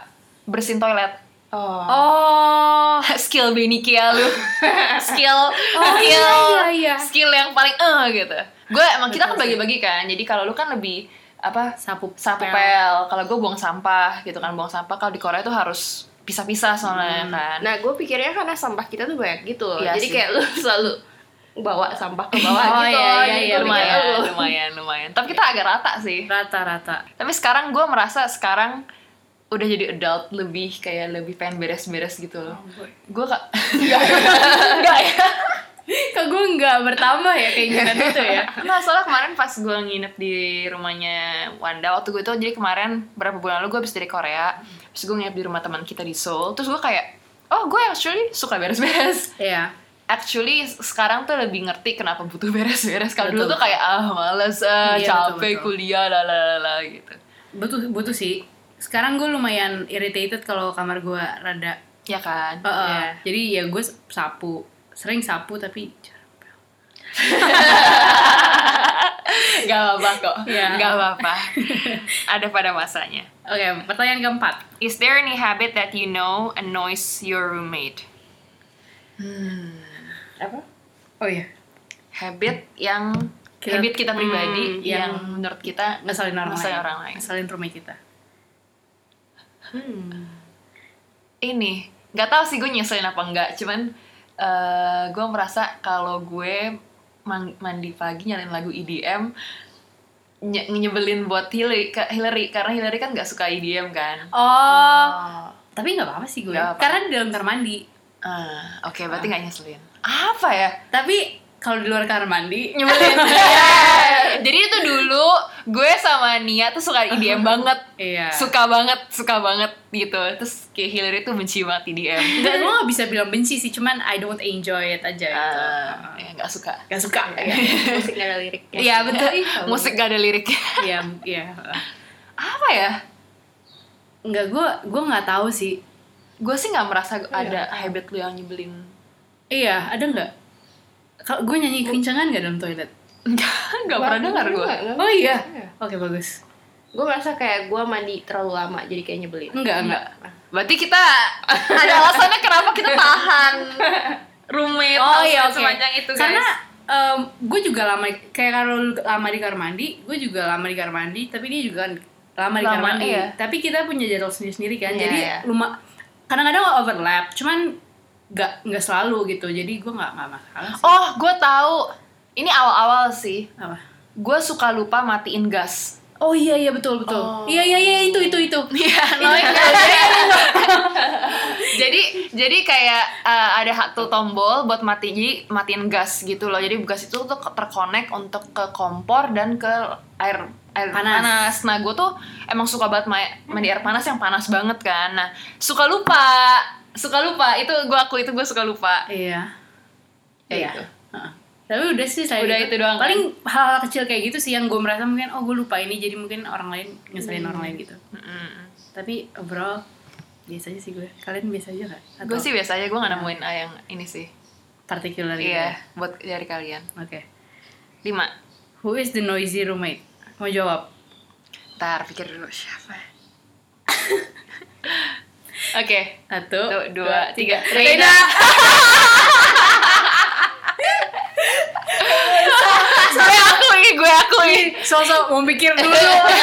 [SPEAKER 1] bersihin toilet.
[SPEAKER 3] Oh.
[SPEAKER 2] Oh.
[SPEAKER 1] [laughs] skill Benikia
[SPEAKER 3] [laughs]
[SPEAKER 1] lu skill
[SPEAKER 2] Oh,
[SPEAKER 1] skill
[SPEAKER 2] iya, iya, iya.
[SPEAKER 1] skill yang paling eh gitu gue emang kita kan bagi-bagi kan jadi kalau lu kan lebih eh, apa
[SPEAKER 2] Sapu
[SPEAKER 1] sapu
[SPEAKER 2] pel.
[SPEAKER 1] pel. Kalau gue buang sampah gitu kan, buang sampah. Kalau di Korea itu harus pisah-pisah soalnya kan.
[SPEAKER 3] Nah, gue pikirnya karena sampah kita tuh banyak gitu loh.
[SPEAKER 1] Iya
[SPEAKER 3] Jadi
[SPEAKER 1] sih.
[SPEAKER 3] kayak lu selalu bawa sampah ke bawah
[SPEAKER 1] Oh iya,
[SPEAKER 3] gitu.
[SPEAKER 1] iya,
[SPEAKER 3] Jadi
[SPEAKER 1] iya,
[SPEAKER 3] gua pikir,
[SPEAKER 1] lumayan,
[SPEAKER 3] "Oh,
[SPEAKER 1] lumayan, lumayan. Tapi kita agak rata sih.
[SPEAKER 2] Rata-rata.
[SPEAKER 1] Tapi sekarang gue merasa sekarang udah jadi adult lebih kayak lebih pengen beres-beres gitu loh. Gue [laughs] kak, enggak, enggak ya.
[SPEAKER 2] Kok gue nggak bertambah ya keinginan itu ya?
[SPEAKER 1] Nah, soalnya kemarin pas gue nginep di rumahnya Wanda, waktu gue tuh jadi kemarin berapa bulan lalu gue habis dari Korea, terus gue nginep di rumah teman kita di Seoul, terus gue kayak, oh gue actually suka beres-beres.
[SPEAKER 2] Iya.
[SPEAKER 1] Actually sekarang tuh lebih ngerti kenapa butuh beres-beres. Kalau dulu
[SPEAKER 2] Betul.
[SPEAKER 1] tuh kayak ah males ah,
[SPEAKER 2] Iya,
[SPEAKER 1] capek
[SPEAKER 2] betul-betul.
[SPEAKER 1] kuliah lalala gitu.
[SPEAKER 2] Butuh butuh sih. Sekarang gue lumayan irritated kalau kamar gue rada.
[SPEAKER 1] Ya kan?
[SPEAKER 2] Eh, eh.
[SPEAKER 1] Iya.
[SPEAKER 2] Jadi ya gue sapu. Sering sapu tapi jarang pel.
[SPEAKER 1] Gak apa-apa kok.
[SPEAKER 2] Iya.
[SPEAKER 1] Gak apa-apa.
[SPEAKER 2] [laughs]
[SPEAKER 1] Ada pada masanya.
[SPEAKER 2] Oke, pertanyaan keempat.
[SPEAKER 1] Is there any habit that you know annoys your roommate?
[SPEAKER 3] Apa?
[SPEAKER 2] Oh iya.
[SPEAKER 1] Habit yang
[SPEAKER 2] Kita-
[SPEAKER 1] habit kita pribadi
[SPEAKER 2] Hmm,
[SPEAKER 1] yang,
[SPEAKER 2] yang
[SPEAKER 1] menurut kita
[SPEAKER 2] Ngeselin orang
[SPEAKER 1] ngeselin
[SPEAKER 2] lain.
[SPEAKER 1] orang lain.
[SPEAKER 2] Ngeselin rumah kita.
[SPEAKER 1] Ini nggak tahu sih gue nyeselin apa enggak, cuman eh, gue merasa kalau gue man- mandi pagi nyalain lagu EDM nye- nyebelin buat Hillary, ke- Hillary karena Hillary kan nggak suka EDM kan.
[SPEAKER 2] Oh. Tapi nggak apa-apa sih gue.
[SPEAKER 1] Nggak apa-apa.
[SPEAKER 2] Karena di dalam kamar mandi.
[SPEAKER 1] Ah, Oke, berarti nggak nyeselin. Apa ya?
[SPEAKER 2] Tapi kalau di luar kamar mandi,
[SPEAKER 1] [laughs] nyebelin jadi itu dulu gue sama Nia tuh suka IDM banget
[SPEAKER 2] Iya.
[SPEAKER 1] suka banget suka banget gitu terus kayak Hillary tuh benci banget E IDM [laughs]
[SPEAKER 2] Enggak, gue gak bisa bilang benci sih, cuman I don't enjoy it aja gitu. Iya.
[SPEAKER 1] Ah, ya, nggak suka
[SPEAKER 2] Gak suka.
[SPEAKER 3] Musik ya. gak ada liriknya.
[SPEAKER 2] Iya, betul. Ih,
[SPEAKER 1] musik gak ada lirik
[SPEAKER 2] Iya, iya.
[SPEAKER 1] [laughs] apa ya
[SPEAKER 2] Enggak, gue gue nggak tahu sih.
[SPEAKER 1] gue sih nggak merasa ada habit lu yang nyebelin
[SPEAKER 2] Iya, ada nggak? Kalau gue nyanyi kencengan nggak dalam toilet?
[SPEAKER 1] nggak nggak pernah dengar gue
[SPEAKER 2] Oh iya. Oke bagus.
[SPEAKER 3] Gue merasa kayak gue mandi terlalu lama jadi kayak nyebelin.
[SPEAKER 2] Enggak enggak.
[SPEAKER 1] berarti kita [laughs] ada alasannya kenapa kita tahan [laughs] roommate housemate
[SPEAKER 2] Oh iya oke.
[SPEAKER 1] kan sepanjang itu guys
[SPEAKER 2] Karena gue juga lama kayak kalau lu lama di kamar mandi, gue juga lama di kamar mandi, tapi dia juga kan lama di kamar
[SPEAKER 1] Lama,
[SPEAKER 2] mandi.
[SPEAKER 1] iya.
[SPEAKER 2] Tapi kita punya jadwal sendiri-sendiri kan.
[SPEAKER 3] Iya,
[SPEAKER 2] jadi
[SPEAKER 3] iya.
[SPEAKER 2] luma kadang-kadang overlap, cuman nggak nggak selalu gitu. Jadi gue nggak nggak masalah. sih.
[SPEAKER 1] oh gue tahu ini awal-awal sih
[SPEAKER 2] Apa?
[SPEAKER 1] gue suka lupa matiin gas
[SPEAKER 2] Oh iya iya betul betul.
[SPEAKER 3] Oh.
[SPEAKER 2] Iya iya iya itu itu itu.
[SPEAKER 1] Iya, annoying. jadi jadi kayak eh, ada satu tombol buat mati jadi matiin gas gitu loh. Jadi gas itu tuh terkonek untuk ke kompor dan ke air air panas.
[SPEAKER 2] Panas.
[SPEAKER 1] Nah, gue tuh emang suka banget ma- mandi air panas yang panas banget kan. Nah, suka lupa. Suka lupa. Itu gue aku itu gue suka lupa.
[SPEAKER 2] Iya.
[SPEAKER 1] Ya
[SPEAKER 2] iya.
[SPEAKER 1] gitu.
[SPEAKER 2] Heeh. Tapi udah sih saya
[SPEAKER 1] Udah itu doang, kan?
[SPEAKER 2] Paling hal-hal kecil kayak gitu sih yang gue merasa mungkin oh gue lupa ini jadi mungkin orang lain ngeselin
[SPEAKER 1] Hmm.
[SPEAKER 2] orang lain gitu. Tapi overall biasa aja sih gue. Kalian biasa aja gak?
[SPEAKER 1] Gue sih biasanya gue gak nemuin eh, yang ini sih.
[SPEAKER 2] particular gitu
[SPEAKER 1] Iya,
[SPEAKER 2] ya?
[SPEAKER 1] buat dari kalian.
[SPEAKER 2] Oke.
[SPEAKER 1] Lima.
[SPEAKER 2] Who is the noisy roommate? Mau jawab?
[SPEAKER 1] Ntar pikir dulu siapa. Oke.
[SPEAKER 2] Satu,
[SPEAKER 1] Satu, dua, tiga.
[SPEAKER 2] Reina.
[SPEAKER 1] gue akui, gue akui.
[SPEAKER 2] Sosok mau pikir dulu.
[SPEAKER 1] akui.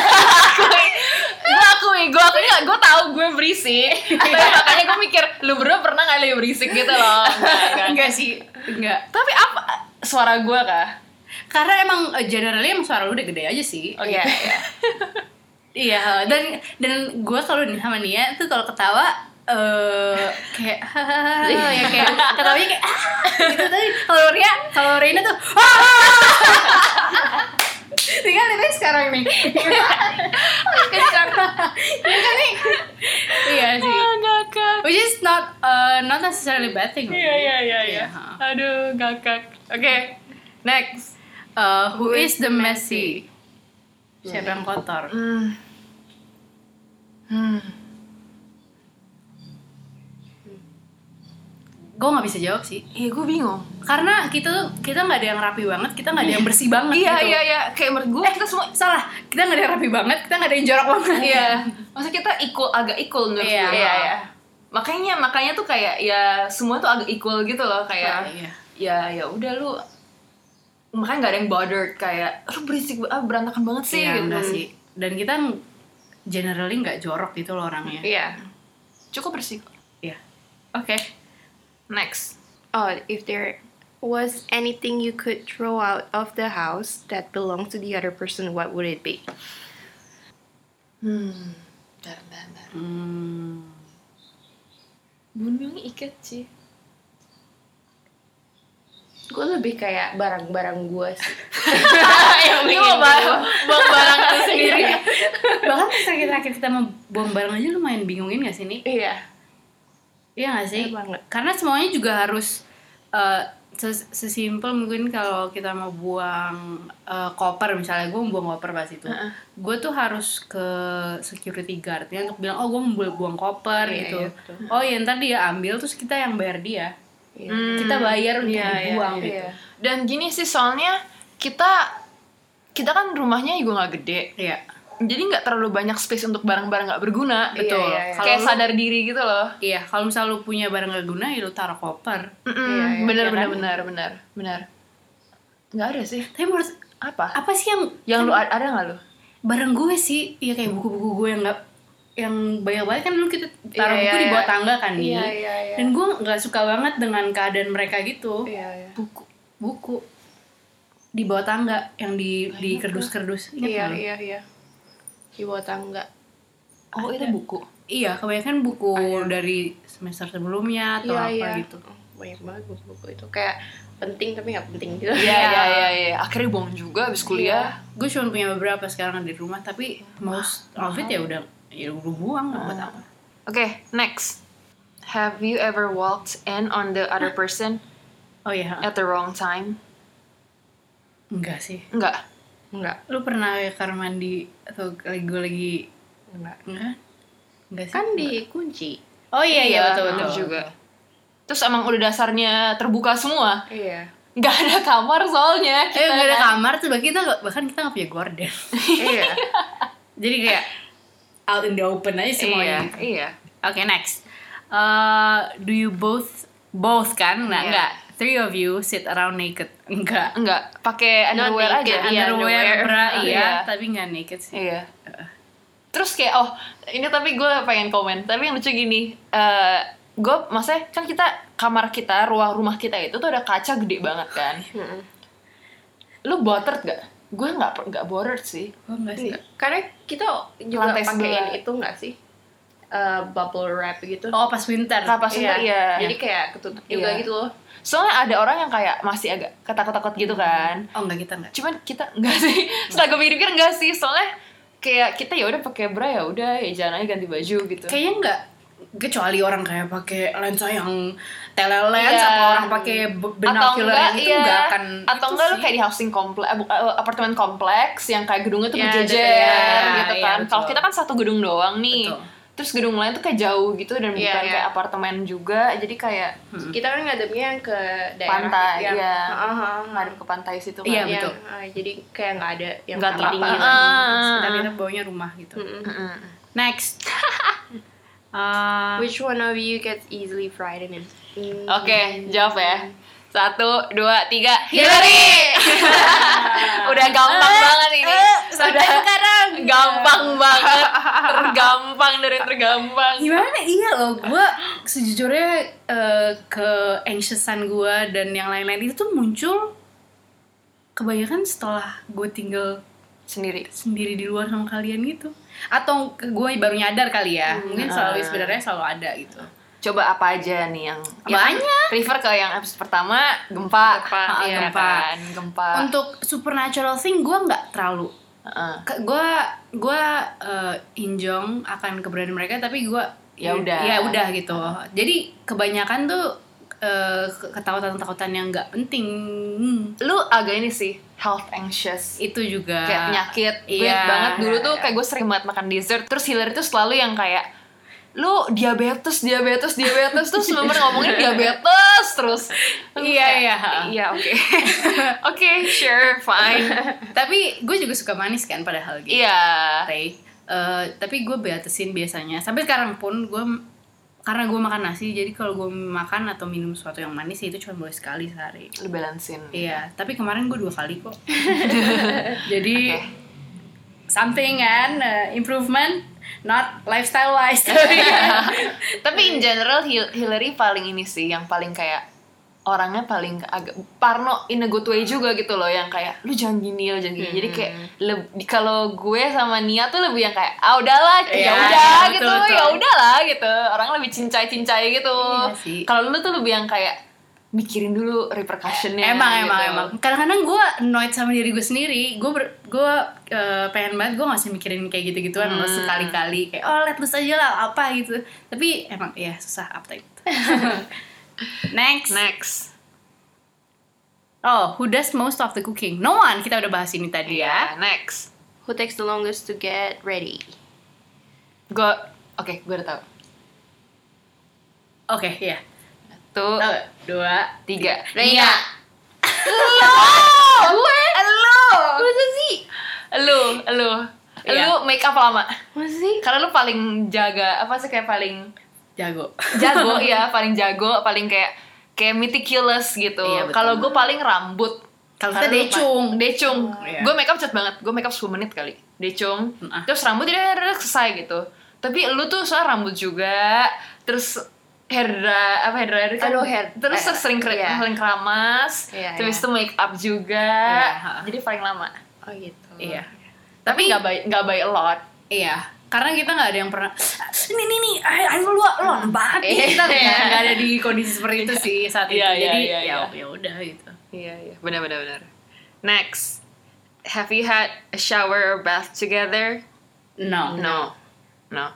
[SPEAKER 1] Gue akui, gue akui nggak, gue tahu gue berisik. Tapi makanya gue mikir, lu berdua pernah nggak lu berisik gitu loh? Nggak, nggak.
[SPEAKER 2] Enggak sih, enggak.
[SPEAKER 1] Tapi apa suara gue kah?
[SPEAKER 2] Karena emang eh, generally emang suara lu udah gede aja sih.
[SPEAKER 1] Oh iya, iya.
[SPEAKER 2] Iya, dan dan gue kalau di sama Nia tuh kalau ketawa eh kayak
[SPEAKER 1] Ah,
[SPEAKER 2] "Hahaha," ya kayak ketawanya kayak ah gitu tapi kalau Ria kalau Reina tuh ah tinggal lihatnya sekarang nih kencang ya kan nih iya sih
[SPEAKER 1] ngakak.
[SPEAKER 2] which is not uh, not necessarily bad thing
[SPEAKER 1] Iya, iya, iya, iya.
[SPEAKER 2] Iya, ha.
[SPEAKER 1] Aduh, ngakak. Oke, next.
[SPEAKER 2] Uh, who is the messy siapa yang kotor
[SPEAKER 1] Hmm. Hmm.
[SPEAKER 2] gue nggak bisa jawab sih
[SPEAKER 1] Iya, gue bingung.
[SPEAKER 2] karena kita tuh kita nggak ada yang rapi banget kita nggak ada yang bersih banget
[SPEAKER 1] Iya,
[SPEAKER 2] gitu
[SPEAKER 1] iya, iya. Kayak menurut gue kita semua
[SPEAKER 2] salah kita nggak ada yang rapi banget kita nggak ada yang jorok banget
[SPEAKER 1] Iya. Masa kita equal agak equal menurut
[SPEAKER 2] Iya.
[SPEAKER 1] gue. Makanya makanya tuh kayak ya semua tuh agak equal gitu loh kayak
[SPEAKER 2] Iya.
[SPEAKER 1] ya ya udah lu makanya nggak ada yang bothered kayak lu berisik ba- ah, berantakan banget sih
[SPEAKER 2] Iya,
[SPEAKER 1] gitu.
[SPEAKER 2] enggak sih dan kita ng- generally nggak jorok gitu loh orangnya
[SPEAKER 3] Iya.
[SPEAKER 1] Cukup bersih. kok.
[SPEAKER 2] Iya.
[SPEAKER 1] Oke. Next.
[SPEAKER 3] Oh, if there was anything you could throw out of the house that belongs to the other person, what would it be?
[SPEAKER 1] Hmm. Bentar, bentar, bentar.
[SPEAKER 2] Hmm.
[SPEAKER 1] Bunyung ikat sih.
[SPEAKER 3] Gue lebih kayak barang-barang gue sih.
[SPEAKER 1] Yang
[SPEAKER 3] Ini
[SPEAKER 1] mau
[SPEAKER 3] mau
[SPEAKER 1] barang,
[SPEAKER 3] barang-
[SPEAKER 1] buang barang itu
[SPEAKER 2] [laughs]
[SPEAKER 1] sendiri.
[SPEAKER 2] Iya. bahkan pas terakhir-terakhir kita mau buang barang aja lumayan bingungin gak sih nih
[SPEAKER 3] [laughs] Iya.
[SPEAKER 2] iya gak sih
[SPEAKER 3] Iya banget.
[SPEAKER 2] karena semuanya juga harus eh, ses- sesimpel mungkin kalau kita mau buang eh, koper misalnya gue mau buang koper pas itu gue tuh harus ke security guardnya untuk bilang oh gue mau buang koper
[SPEAKER 3] Iya,
[SPEAKER 2] gitu
[SPEAKER 3] iya, betul.
[SPEAKER 2] oh ya ntar dia ambil terus kita yang bayar dia
[SPEAKER 3] Iya.
[SPEAKER 1] Hmm,
[SPEAKER 2] kita bayar untuk
[SPEAKER 1] iya, iya,
[SPEAKER 2] dibuang gitu
[SPEAKER 3] Iya.
[SPEAKER 1] Dan gini sih soalnya kita kita kan rumahnya juga nggak gede.
[SPEAKER 2] Iya.
[SPEAKER 1] Jadi nggak terlalu banyak space untuk barang-barang nggak berguna.
[SPEAKER 3] Iya,
[SPEAKER 2] betul
[SPEAKER 3] iya, iya.
[SPEAKER 2] Kalau
[SPEAKER 1] Kayak
[SPEAKER 2] lu-
[SPEAKER 1] sadar diri gitu loh.
[SPEAKER 2] iya kalau misal lu punya barang gak guna ya lu taruh koper
[SPEAKER 1] Mm-mm,
[SPEAKER 3] Iya, iya,
[SPEAKER 1] bener,
[SPEAKER 2] iya kan?
[SPEAKER 1] bener, bener, bener, bener. Nggak ada sih.
[SPEAKER 2] tapi menurut
[SPEAKER 1] Apa?
[SPEAKER 2] apa sih yang
[SPEAKER 1] Yang lu ada nggak lu?
[SPEAKER 2] barang gue sih ya
[SPEAKER 3] Hmm.
[SPEAKER 2] kayak buku-buku gue yang nggak yang banyak banget kan dulu kita taruh
[SPEAKER 1] Iya,
[SPEAKER 2] buku
[SPEAKER 1] iya,
[SPEAKER 2] di bawah
[SPEAKER 1] iya.
[SPEAKER 2] tangga kan nih
[SPEAKER 3] Iya, iya, iya.
[SPEAKER 2] dan gue nggak suka banget dengan keadaan mereka gitu
[SPEAKER 3] Iya, iya.
[SPEAKER 1] Buku.
[SPEAKER 2] buku di bawah tangga yang di di kerdus-kerdus Ingat
[SPEAKER 3] Iya,
[SPEAKER 2] nggak lu?
[SPEAKER 3] iya, iya. Di bawah tangga.
[SPEAKER 1] Oh itu buku.
[SPEAKER 2] iya kebanyakan buku dari semester sebelumnya atau apa gitu
[SPEAKER 3] Oh, Banyak banget buku-buku itu kayak penting tapi nggak penting gitu.
[SPEAKER 1] Iya iya iya. iya. Akhirnya buang juga abis kuliah.
[SPEAKER 2] gue cuma punya beberapa sekarang di rumah tapi most of it ya udah ya udah buang nggak
[SPEAKER 3] Ah.
[SPEAKER 2] buat apa
[SPEAKER 1] Oke next. Have you ever walked in on the other person
[SPEAKER 2] oh iya
[SPEAKER 1] at the wrong time?
[SPEAKER 2] enggak sih
[SPEAKER 1] Enggak.
[SPEAKER 3] Enggak,
[SPEAKER 2] lu pernah ke kamar mandi atau lagi gue lagi
[SPEAKER 3] enggak.
[SPEAKER 2] enggak enggak sih
[SPEAKER 3] Kan dikunci.
[SPEAKER 2] Oh iya iya betul
[SPEAKER 1] benar
[SPEAKER 2] betul
[SPEAKER 1] juga. Terus emang udah dasarnya terbuka semua.
[SPEAKER 3] Iya.
[SPEAKER 1] Nggak ada kamar soalnya.
[SPEAKER 2] Eh
[SPEAKER 1] kita
[SPEAKER 2] nggak ada
[SPEAKER 1] kan.
[SPEAKER 2] kamar tuh bahkan kita nggak- bahkan kita nggak punya gorden.
[SPEAKER 3] iya.
[SPEAKER 2] [laughs]
[SPEAKER 1] [laughs]
[SPEAKER 2] Jadi kayak out in the open aja
[SPEAKER 1] Iya,
[SPEAKER 2] semuanya. gitu.
[SPEAKER 1] iya.
[SPEAKER 2] Oke next. Eh, do you both both kan? Nah,
[SPEAKER 1] Iya.
[SPEAKER 2] enggak. Three of you sit around naked. Enggak.
[SPEAKER 1] Enggak, pakai
[SPEAKER 3] Not
[SPEAKER 1] underwear aja.
[SPEAKER 3] naked,
[SPEAKER 1] Iya,
[SPEAKER 2] Underwear, bra, iya,
[SPEAKER 1] Iya.
[SPEAKER 2] tapi nggak naked sih.
[SPEAKER 1] Iya. Terus kayak oh ini tapi gue pengen komen tapi yang lucu gini eh gue maksudnya kan kita kamar kita ruang rumah kita itu tuh ada kaca gede banget kan
[SPEAKER 3] Mm-mm.
[SPEAKER 1] lu bothered gak gue nggak per- nggak bothered sih
[SPEAKER 2] Oh, enggak sih.
[SPEAKER 3] Karena kita juga
[SPEAKER 1] Lantai
[SPEAKER 3] pakein
[SPEAKER 1] sebelah.
[SPEAKER 3] itu enggak sih? Eh, bubble wrap gitu.
[SPEAKER 2] Oh, pas winter.
[SPEAKER 1] Kenapa sih
[SPEAKER 3] Iya.
[SPEAKER 1] iya.
[SPEAKER 3] Jadi kayak ketutup juga
[SPEAKER 1] Iya.
[SPEAKER 3] gitu loh.
[SPEAKER 1] soalnya ada orang yang kayak masih agak ketakut-takut gitu kan
[SPEAKER 2] Oh, enggak kita enggak.
[SPEAKER 1] cuman kita [laughs] enggak sih setelah gue pikir-pikir enggak sih soalnya kayak kita ya udah pakai bra ya udah ya jalan aja ganti baju gitu
[SPEAKER 2] Kayaknya enggak kecuali orang kayak pakai lensa yang telelens
[SPEAKER 1] Iya.
[SPEAKER 2] atau orang pakai be- binocular yang itu
[SPEAKER 1] iya.
[SPEAKER 2] enggak akan
[SPEAKER 1] atau
[SPEAKER 2] itu
[SPEAKER 1] enggak lu
[SPEAKER 2] sih.
[SPEAKER 1] kayak di housing kompleks eh, apartemen kompleks yang kayak gedungnya tuh
[SPEAKER 2] Iya,
[SPEAKER 1] berjejer
[SPEAKER 2] iya,
[SPEAKER 1] gitu
[SPEAKER 2] iya,
[SPEAKER 1] kan
[SPEAKER 2] betul.
[SPEAKER 1] kalau kita kan satu gedung doang nih
[SPEAKER 2] Betul.
[SPEAKER 1] terus gedung lain tuh kayak jauh gitu dan
[SPEAKER 3] Iya,
[SPEAKER 1] bukan
[SPEAKER 3] iya.
[SPEAKER 1] kayak apartemen juga jadi kayak
[SPEAKER 3] Kita kan ngadepnya yang ke daerah
[SPEAKER 1] Pantai,
[SPEAKER 3] yang
[SPEAKER 1] iya.
[SPEAKER 3] Heeh, heeh,
[SPEAKER 1] ngadep ke pantai situ kan
[SPEAKER 2] Iya,
[SPEAKER 3] yang,
[SPEAKER 2] betul.
[SPEAKER 3] eh, jadi kayak nggak ada yang
[SPEAKER 1] Nggak
[SPEAKER 3] paling
[SPEAKER 1] terapa.
[SPEAKER 3] tinggi lagi.
[SPEAKER 1] Ah. Hmm.
[SPEAKER 2] Sekitar kita bawanya rumah gitu.
[SPEAKER 3] Mm-mm.
[SPEAKER 1] Mm-mm. [laughs]
[SPEAKER 2] Next. Eh,
[SPEAKER 3] Which one of you gets easily frightened? and- Mm.
[SPEAKER 1] oke jawab ya satu dua tiga Hillary [laughs] udah gampang banget ini udah
[SPEAKER 2] Ah, sekarang
[SPEAKER 1] gampang banget tergampang dari tergampang
[SPEAKER 2] gimana iya loh gue sejujurnya eh, ke anxiousan gue dan yang lain-lain itu tuh muncul kebanyakan setelah gue tinggal
[SPEAKER 1] sendiri
[SPEAKER 2] sendiri di luar sama kalian gitu atau gue baru nyadar kali ya
[SPEAKER 1] Hmm,
[SPEAKER 2] mungkin
[SPEAKER 1] ah.
[SPEAKER 2] selalu sebenarnya selalu ada gitu
[SPEAKER 1] coba apa aja nih yang
[SPEAKER 2] Banyak.
[SPEAKER 1] refer ke yang episode pertama gempa
[SPEAKER 3] Gempa,
[SPEAKER 1] Ah,
[SPEAKER 2] iya.
[SPEAKER 1] gempa kan? gempa
[SPEAKER 2] untuk supernatural thing gue nggak terlalu
[SPEAKER 1] Heeh.
[SPEAKER 2] gue gue eh, injong akan keberadaan mereka tapi gue
[SPEAKER 1] Ya udah.
[SPEAKER 2] ya udah gitu jadi kebanyakan tuh eh, ke- ketakutan-ketakutan yang nggak penting
[SPEAKER 1] lu agak ini sih health anxious
[SPEAKER 2] itu juga
[SPEAKER 1] kayak penyakit gue
[SPEAKER 2] Iya.
[SPEAKER 1] ingat banget dulu tuh kayak gue sering banget makan dessert terus Hillary tuh selalu yang kayak lu diabetes diabetes diabetes terus bener ngomongin diabetes terus Terus
[SPEAKER 2] Iya,
[SPEAKER 1] kayak,
[SPEAKER 2] iya.
[SPEAKER 1] iya oke
[SPEAKER 2] [laughs]
[SPEAKER 1] oke sure fine
[SPEAKER 2] tapi gue juga suka manis kan padahal gitu
[SPEAKER 1] iya
[SPEAKER 2] Teh. Eh, tapi gue batasin biasanya sampai sekarang pun gue karena gue makan nasi jadi kalau gue makan atau minum sesuatu yang manis ya itu cuma boleh sekali sehari
[SPEAKER 1] lu balancein
[SPEAKER 2] [laughs] Iya, tapi kemarin gue dua kali kok. Jadi
[SPEAKER 1] Oke.
[SPEAKER 2] something kan uh, improvement not lifestyle wise tapi
[SPEAKER 1] Tapi
[SPEAKER 2] Iya.
[SPEAKER 1] in general Hil- Hillary paling ini sih yang paling kayak orangnya paling agak parno in a good way juga gitu loh yang kayak lu jangan gini lu jangan gini jadi kayak
[SPEAKER 2] Hmm.
[SPEAKER 1] leb- kalau gue sama Nia tuh lebih yang kayak ah udahlah ya
[SPEAKER 2] Iya,
[SPEAKER 1] udah
[SPEAKER 2] betul,
[SPEAKER 1] gitu
[SPEAKER 2] betul.
[SPEAKER 1] ya udahlah gitu orang lebih cincai cincai gitu
[SPEAKER 2] Iya sih.
[SPEAKER 1] kalau lu tuh lebih yang kayak mikirin dulu
[SPEAKER 2] [laughs]
[SPEAKER 1] repercussionnya
[SPEAKER 2] iya,
[SPEAKER 1] gitu.
[SPEAKER 2] emang emang emang kadang-kadang gue annoyed sama diri gue sendiri gue ber- gue eh, pengen banget gue nggak usah mikirin kayak gitu-gituan loh sekali-kali kayak oh let loose aja lah apa gitu tapi emang ya susah [laughs] uptight next
[SPEAKER 1] next
[SPEAKER 2] oh who does most of the cooking no one kita udah bahas ini tadi ya
[SPEAKER 1] ya next
[SPEAKER 3] Who takes the longest to get ready?
[SPEAKER 1] gue oke gue udah tahu
[SPEAKER 2] oke ya
[SPEAKER 1] tuh
[SPEAKER 2] Satu, dua
[SPEAKER 1] tiga
[SPEAKER 3] Reina.
[SPEAKER 1] gue lo
[SPEAKER 3] Masa sih?
[SPEAKER 1] lu lu
[SPEAKER 2] Iya.
[SPEAKER 1] lu make up lama
[SPEAKER 3] Masa sih?
[SPEAKER 1] karena lu paling jaga apa sih kayak paling
[SPEAKER 2] jago [laughs]
[SPEAKER 1] jago ya paling jago paling kayak kayak meticulous gitu
[SPEAKER 2] Iya, betul.
[SPEAKER 1] kalau gue paling rambut
[SPEAKER 2] Kalau
[SPEAKER 1] Karena
[SPEAKER 2] kita
[SPEAKER 1] lu
[SPEAKER 2] decung.
[SPEAKER 1] pa- decung
[SPEAKER 3] Oh,
[SPEAKER 2] Iya.
[SPEAKER 1] gue make up cepet banget gue make up 10 menit kali decung
[SPEAKER 2] Mm-ah.
[SPEAKER 1] terus rambut dia udah selesai gitu tapi lu tuh soal rambut juga terus hair dry apa hair dryer kan
[SPEAKER 3] Aduh, hair-
[SPEAKER 1] terus
[SPEAKER 3] eh,
[SPEAKER 1] sering kre-
[SPEAKER 3] iya.
[SPEAKER 1] paling keramas
[SPEAKER 3] Iya,
[SPEAKER 1] terus
[SPEAKER 3] iya.
[SPEAKER 1] itu make up juga
[SPEAKER 2] Iya.
[SPEAKER 1] jadi paling lama
[SPEAKER 3] Oh gitu.
[SPEAKER 2] iya
[SPEAKER 1] tapi nggak baik nggak baik a lot
[SPEAKER 2] Iya, karena kita nggak ada yang pernah ini nih nih, ayo ayo lu lu banget nih."
[SPEAKER 1] [laughs] Iya.
[SPEAKER 2] kita nggak nggak ada di kondisi seperti itu sih saat itu.
[SPEAKER 1] Iya, iya,
[SPEAKER 2] Jadi
[SPEAKER 1] iya,
[SPEAKER 2] ya
[SPEAKER 1] iya.
[SPEAKER 2] ya udah gitu.
[SPEAKER 1] iya iya benar benar benar next have you had a shower or bath together
[SPEAKER 2] No.
[SPEAKER 1] No, no.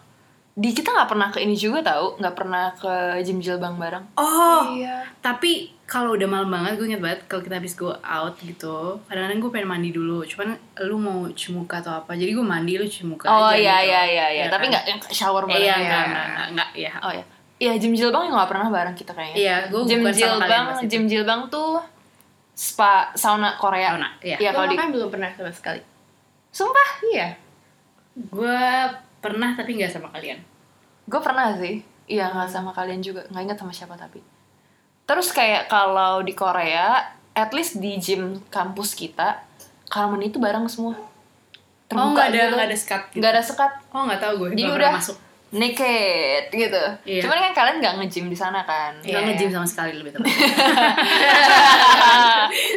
[SPEAKER 1] Di kita nggak pernah ke ini juga tahu, nggak pernah ke gym jilbang bareng.
[SPEAKER 2] Oh,
[SPEAKER 3] Iya.
[SPEAKER 2] tapi kalau udah malam banget gue inget banget kalau kita habis go out gitu, kadang-kadang gue pengen mandi dulu. Cuman lu mau cuci muka atau apa? Jadi gue mandi lu cuci muka
[SPEAKER 1] oh iya
[SPEAKER 2] aja gitu.
[SPEAKER 1] iya iya iya,
[SPEAKER 2] Ya
[SPEAKER 1] tapi
[SPEAKER 2] kan?
[SPEAKER 1] nggak yang shower bareng.
[SPEAKER 2] Iya,
[SPEAKER 1] ya.
[SPEAKER 2] enggak enggak enggak ya.
[SPEAKER 1] Oh iya. Iya, gym jilbang nggak pernah bareng kita kayaknya.
[SPEAKER 2] Iya, gue
[SPEAKER 1] gym
[SPEAKER 2] bukan sama kalian
[SPEAKER 1] jilbang,
[SPEAKER 2] pas itu.
[SPEAKER 1] gym jilbang tuh spa sauna Korea.
[SPEAKER 2] Sauna, iya.
[SPEAKER 1] Iya,
[SPEAKER 3] Gue
[SPEAKER 1] kalau di
[SPEAKER 3] makanya belum pernah sama sekali.
[SPEAKER 1] Sumpah,
[SPEAKER 3] Iya.
[SPEAKER 2] Gue pernah tapi nggak sama kalian.
[SPEAKER 1] gue pernah sih. Iya, nggak sama kalian juga, nggak ingat sama siapa tapi. Terus kayak kalau di Korea, at least di gym kampus kita, kamar mandi itu bareng semua.
[SPEAKER 2] oh, nggak ada
[SPEAKER 1] gitu.
[SPEAKER 2] nggak ada sekat gitu.
[SPEAKER 1] Nggak ada sekat.
[SPEAKER 2] Oh, nggak tahu gue.
[SPEAKER 1] Jadi
[SPEAKER 2] nggak
[SPEAKER 1] udah
[SPEAKER 2] pernah masuk.
[SPEAKER 1] naked gitu.
[SPEAKER 2] Iya.
[SPEAKER 1] Cuman kan kalian nggak nge-gym di sana kan.
[SPEAKER 2] Gak
[SPEAKER 3] Iya,
[SPEAKER 2] nge-gym
[SPEAKER 3] iya.
[SPEAKER 2] sama sekali lebih tepat.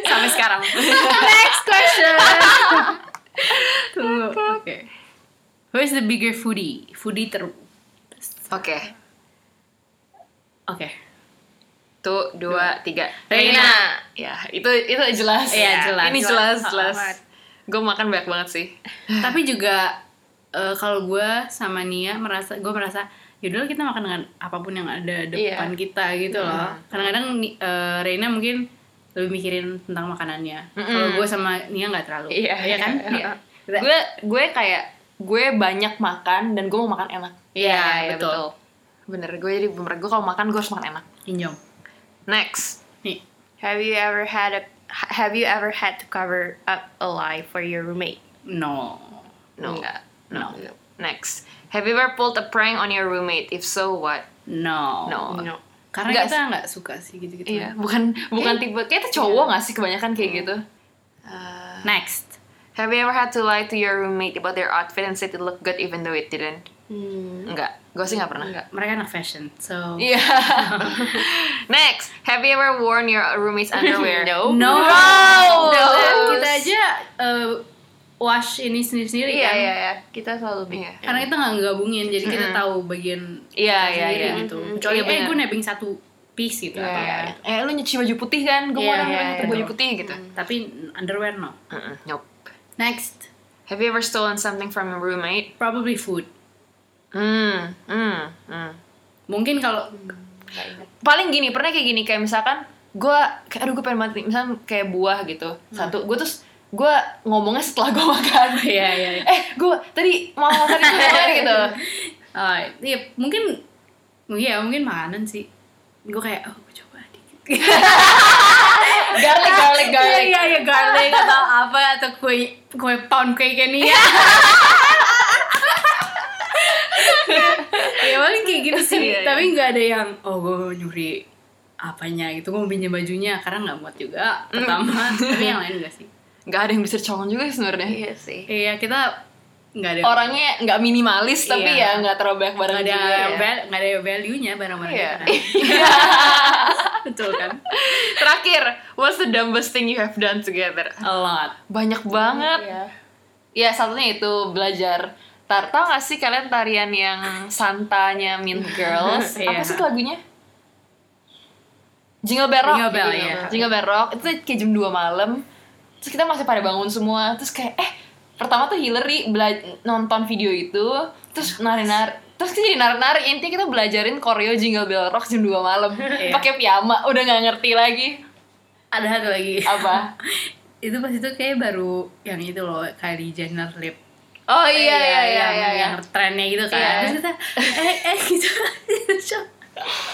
[SPEAKER 2] Sampai
[SPEAKER 1] [laughs]
[SPEAKER 2] sekarang.
[SPEAKER 3] Next question.
[SPEAKER 2] Tunggu. Oke. Who is the bigger foodie? Foodie ter... Oke.
[SPEAKER 1] [laughs] Oke. [sighs] Tuh dua tiga.
[SPEAKER 3] Reina.
[SPEAKER 1] Ya itu itu jelas.
[SPEAKER 2] Iya, jelas.
[SPEAKER 1] Ini
[SPEAKER 2] Jelas.
[SPEAKER 1] jelas jelas.
[SPEAKER 2] Amat.
[SPEAKER 1] Gue makan banyak banget sih.
[SPEAKER 2] Tapi juga eh, kalau gue sama Nia merasa gue merasa yaudah lah kita makan dengan apapun yang ada
[SPEAKER 1] Iya.
[SPEAKER 2] depan kita gitu loh. Kadang-kadang Ni- eh, Reina mungkin lebih mikirin tentang makanannya. Kalau gue sama Nia nggak terlalu.
[SPEAKER 1] Iya.
[SPEAKER 2] Iya
[SPEAKER 1] [laughs]
[SPEAKER 2] kan?
[SPEAKER 1] Iya.
[SPEAKER 2] Kita-
[SPEAKER 1] Gue gue kayak gue banyak makan dan gue mau makan enak.
[SPEAKER 2] Iya,
[SPEAKER 3] iya,
[SPEAKER 2] betul.
[SPEAKER 1] Bener gue jadi bener gue kalau makan gue harus makan enak.
[SPEAKER 2] Injong.
[SPEAKER 1] Next.
[SPEAKER 2] Nih.
[SPEAKER 3] Have you ever had a Have you ever had to cover up a lie for your roommate?
[SPEAKER 2] No.
[SPEAKER 1] No.
[SPEAKER 3] Enggak.
[SPEAKER 1] No. Next. Have you ever pulled a prank on your roommate? If so, what?
[SPEAKER 2] No.
[SPEAKER 1] No.
[SPEAKER 3] No.
[SPEAKER 2] Karena
[SPEAKER 1] Nggak
[SPEAKER 2] kita nggak suka sih gitu-gitu.
[SPEAKER 1] Iya, bukan bukan tipe kayaknya cowok nggak sih kebanyakan kayak gitu.
[SPEAKER 2] Next.
[SPEAKER 1] Have you ever had to lie to your roommate about their outfit and said it looked good even though it didn't?
[SPEAKER 3] Hmm.
[SPEAKER 1] Mm-hmm. Enggak, gue sih nggak pernah.
[SPEAKER 3] Nggak.
[SPEAKER 2] Mereka anak fashion, so
[SPEAKER 1] [laughs] Iya. Next, have you ever worn your [laughs] roommate's underwear?
[SPEAKER 3] No.
[SPEAKER 2] no.
[SPEAKER 1] No.
[SPEAKER 2] Dan kita aja eh, wash ini sendiri-sendiri
[SPEAKER 3] Iya
[SPEAKER 2] kan.
[SPEAKER 3] iya iya. Kita selalu
[SPEAKER 1] Iya.
[SPEAKER 2] Karena kita nggak gabungin, jadi kita
[SPEAKER 1] Mm-mm.
[SPEAKER 2] tahu bagian
[SPEAKER 1] Iya, iya,
[SPEAKER 2] sendiri
[SPEAKER 1] iya.
[SPEAKER 2] gitu.
[SPEAKER 3] Mm-mm.
[SPEAKER 2] Kecuali
[SPEAKER 1] Iya,
[SPEAKER 2] eh
[SPEAKER 1] benar.
[SPEAKER 2] gue nebeng satu piece gitu atau
[SPEAKER 3] Iya.
[SPEAKER 2] apa.
[SPEAKER 1] Kayak, Eh, lu nyuci baju putih kan? Gue
[SPEAKER 2] Iya,
[SPEAKER 1] mau
[SPEAKER 2] iya,
[SPEAKER 1] yeah,
[SPEAKER 2] iya.
[SPEAKER 1] baju putih gitu.
[SPEAKER 2] Tapi underwear no.
[SPEAKER 1] Mm-mm, Nope.
[SPEAKER 2] Next,
[SPEAKER 1] Have you ever stolen something from your roommate?
[SPEAKER 2] probably food.
[SPEAKER 1] Hmm, hmm, hmm.
[SPEAKER 2] Mungkin kalau
[SPEAKER 3] Nggak ingat.
[SPEAKER 1] paling gini pernah kayak gini kayak misalkan gue kayak aduh gue pengen mati misalkan kayak buah gitu
[SPEAKER 2] Hmm.
[SPEAKER 1] satu gue terus gue ngomongnya setelah gue makan
[SPEAKER 2] [laughs] Iya, iya, iya.
[SPEAKER 1] eh gue tadi mau makan
[SPEAKER 2] [laughs]
[SPEAKER 1] tadi gua makan gitu
[SPEAKER 2] ah, iya, mungkin iya mungkin makanan sih. Gue kayak oh gua coba dikit.
[SPEAKER 1] garlic garlic garlic
[SPEAKER 2] [laughs] Iya, iya, iya, garlic atau apa atau kue kue pound cake ini ya. [laughs] ya paling kayak gitu sih,
[SPEAKER 1] Iya, iya.
[SPEAKER 2] tapi nggak ada yang oh gue nyuri apanya gitu, gue pinjam bajunya karena nggak muat juga [laughs] pertama, tapi yang lain nggak sih.
[SPEAKER 1] nggak ada yang bisa colong juga sih sebenarnya
[SPEAKER 3] Iya sih.
[SPEAKER 2] Iya kita nggak ada
[SPEAKER 1] orangnya nggak minimalis tapi ya
[SPEAKER 2] Iya.
[SPEAKER 1] nggak terlalu banyak barang
[SPEAKER 2] nggak ada
[SPEAKER 1] juga ya.
[SPEAKER 2] val- nggak ada value nya barang-barang
[SPEAKER 1] Iya.
[SPEAKER 2] [laughs] kita. betul kan
[SPEAKER 1] Terakhir, what's the dumbest thing you have done together?
[SPEAKER 2] a lot
[SPEAKER 1] Banyak
[SPEAKER 2] Hmm,
[SPEAKER 1] banget.
[SPEAKER 3] Iya.
[SPEAKER 1] Ya satunya itu belajar. Tar, tau gak sih kalian tarian yang santanya Mean Girls? Apa
[SPEAKER 2] Iya.
[SPEAKER 1] sih itu lagunya? Jingle Bell Rock.
[SPEAKER 2] Jingle Bell,
[SPEAKER 1] Jingle
[SPEAKER 2] iya.
[SPEAKER 1] Bell. Jingle Bell Rock. Itu kayak jam 2 malam. Terus kita masih pada bangun semua. Terus kayak, eh pertama tuh Hillary bela- nonton video itu. Terus nari-nari. Terus kita jadi nari-nari. Intinya kita belajarin koreo Jingle Bell Rock jam 2 malam.
[SPEAKER 2] Iya.
[SPEAKER 1] Pakai piyama. Udah gak ngerti lagi.
[SPEAKER 2] ada satu lagi
[SPEAKER 1] Apa?
[SPEAKER 2] itu pas itu kayak baru yang itu loh Kylie Jenner lip
[SPEAKER 1] Oh iya, iya, iya,
[SPEAKER 2] ya, yang,
[SPEAKER 1] iya.
[SPEAKER 2] yang trennya gitu kan
[SPEAKER 1] Iya.
[SPEAKER 2] terus kita eh eh gitu [laughs]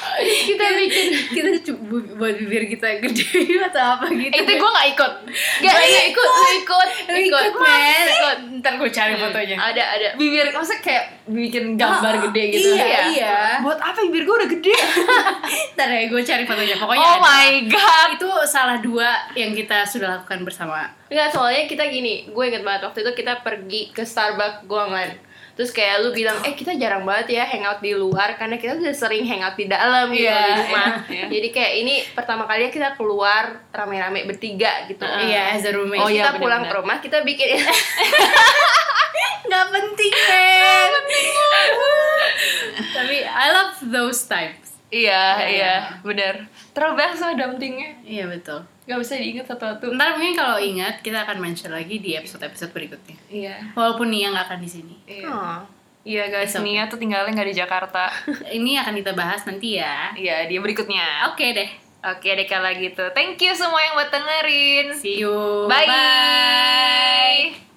[SPEAKER 2] kita bikin kita coba buat bibir kita gede [laughs] atau apa gitu
[SPEAKER 1] Eh, itu gue gak ikut. Gak,
[SPEAKER 2] Gua
[SPEAKER 1] iya, ikut, lu ikut,
[SPEAKER 2] Lu Eh, ikut Hmm. Ah. men ikut ntar gue cari fotonya
[SPEAKER 1] Ada, ada. Bibir, maksudnya kayak bikin gambar
[SPEAKER 2] Ah,
[SPEAKER 1] gede gitu.
[SPEAKER 2] iya,
[SPEAKER 1] Kayak,
[SPEAKER 2] iya.
[SPEAKER 1] Buat apa bibir gue udah [laughs] gede?
[SPEAKER 2] ntar ya gue cari fotonya pokoknya
[SPEAKER 1] oh
[SPEAKER 2] ada.
[SPEAKER 1] my god.
[SPEAKER 2] itu salah dua yang kita sudah lakukan bersama
[SPEAKER 3] Enggak, soalnya kita gini, gue inget banget waktu itu kita pergi ke Starbucks Guangan. Terus kayak lu bilang, eh kita jarang banget ya hangout di luar karena kita udah sering hangout di dalam gitu
[SPEAKER 1] Iya,
[SPEAKER 3] di rumah.
[SPEAKER 1] iya, iya.
[SPEAKER 3] Jadi kayak ini pertama kalinya kita keluar rame-rame bertiga gitu.
[SPEAKER 2] iya as a roommate
[SPEAKER 1] Oh,
[SPEAKER 3] Terus
[SPEAKER 1] iya,
[SPEAKER 3] kita pulang
[SPEAKER 1] benar-benar.
[SPEAKER 3] ke rumah kita
[SPEAKER 1] [laughs]
[SPEAKER 3] bikin
[SPEAKER 2] nggak penting men [laughs] tapi I love those times
[SPEAKER 1] Iya,
[SPEAKER 2] Iya.
[SPEAKER 1] iya, benar. Terlalu banyak sama dumpingnya.
[SPEAKER 2] iya betul
[SPEAKER 1] Gak bisa diinget satu-satu.
[SPEAKER 2] ntar mungkin kalau ingat kita akan mention lagi di episode-episode berikutnya
[SPEAKER 1] Iya.
[SPEAKER 2] walaupun Nia nggak akan di sini
[SPEAKER 1] Iya.
[SPEAKER 3] "Oh,
[SPEAKER 1] Iya guys,
[SPEAKER 2] It's okay.
[SPEAKER 1] Nia tuh tinggalnya nggak di Jakarta.
[SPEAKER 2] ini akan kita bahas nanti ya
[SPEAKER 1] Iya, dia berikutnya.
[SPEAKER 2] oke deh
[SPEAKER 1] Oke deh kalau gitu. Thank you semua yang buat dengerin.
[SPEAKER 2] see you
[SPEAKER 1] Bye.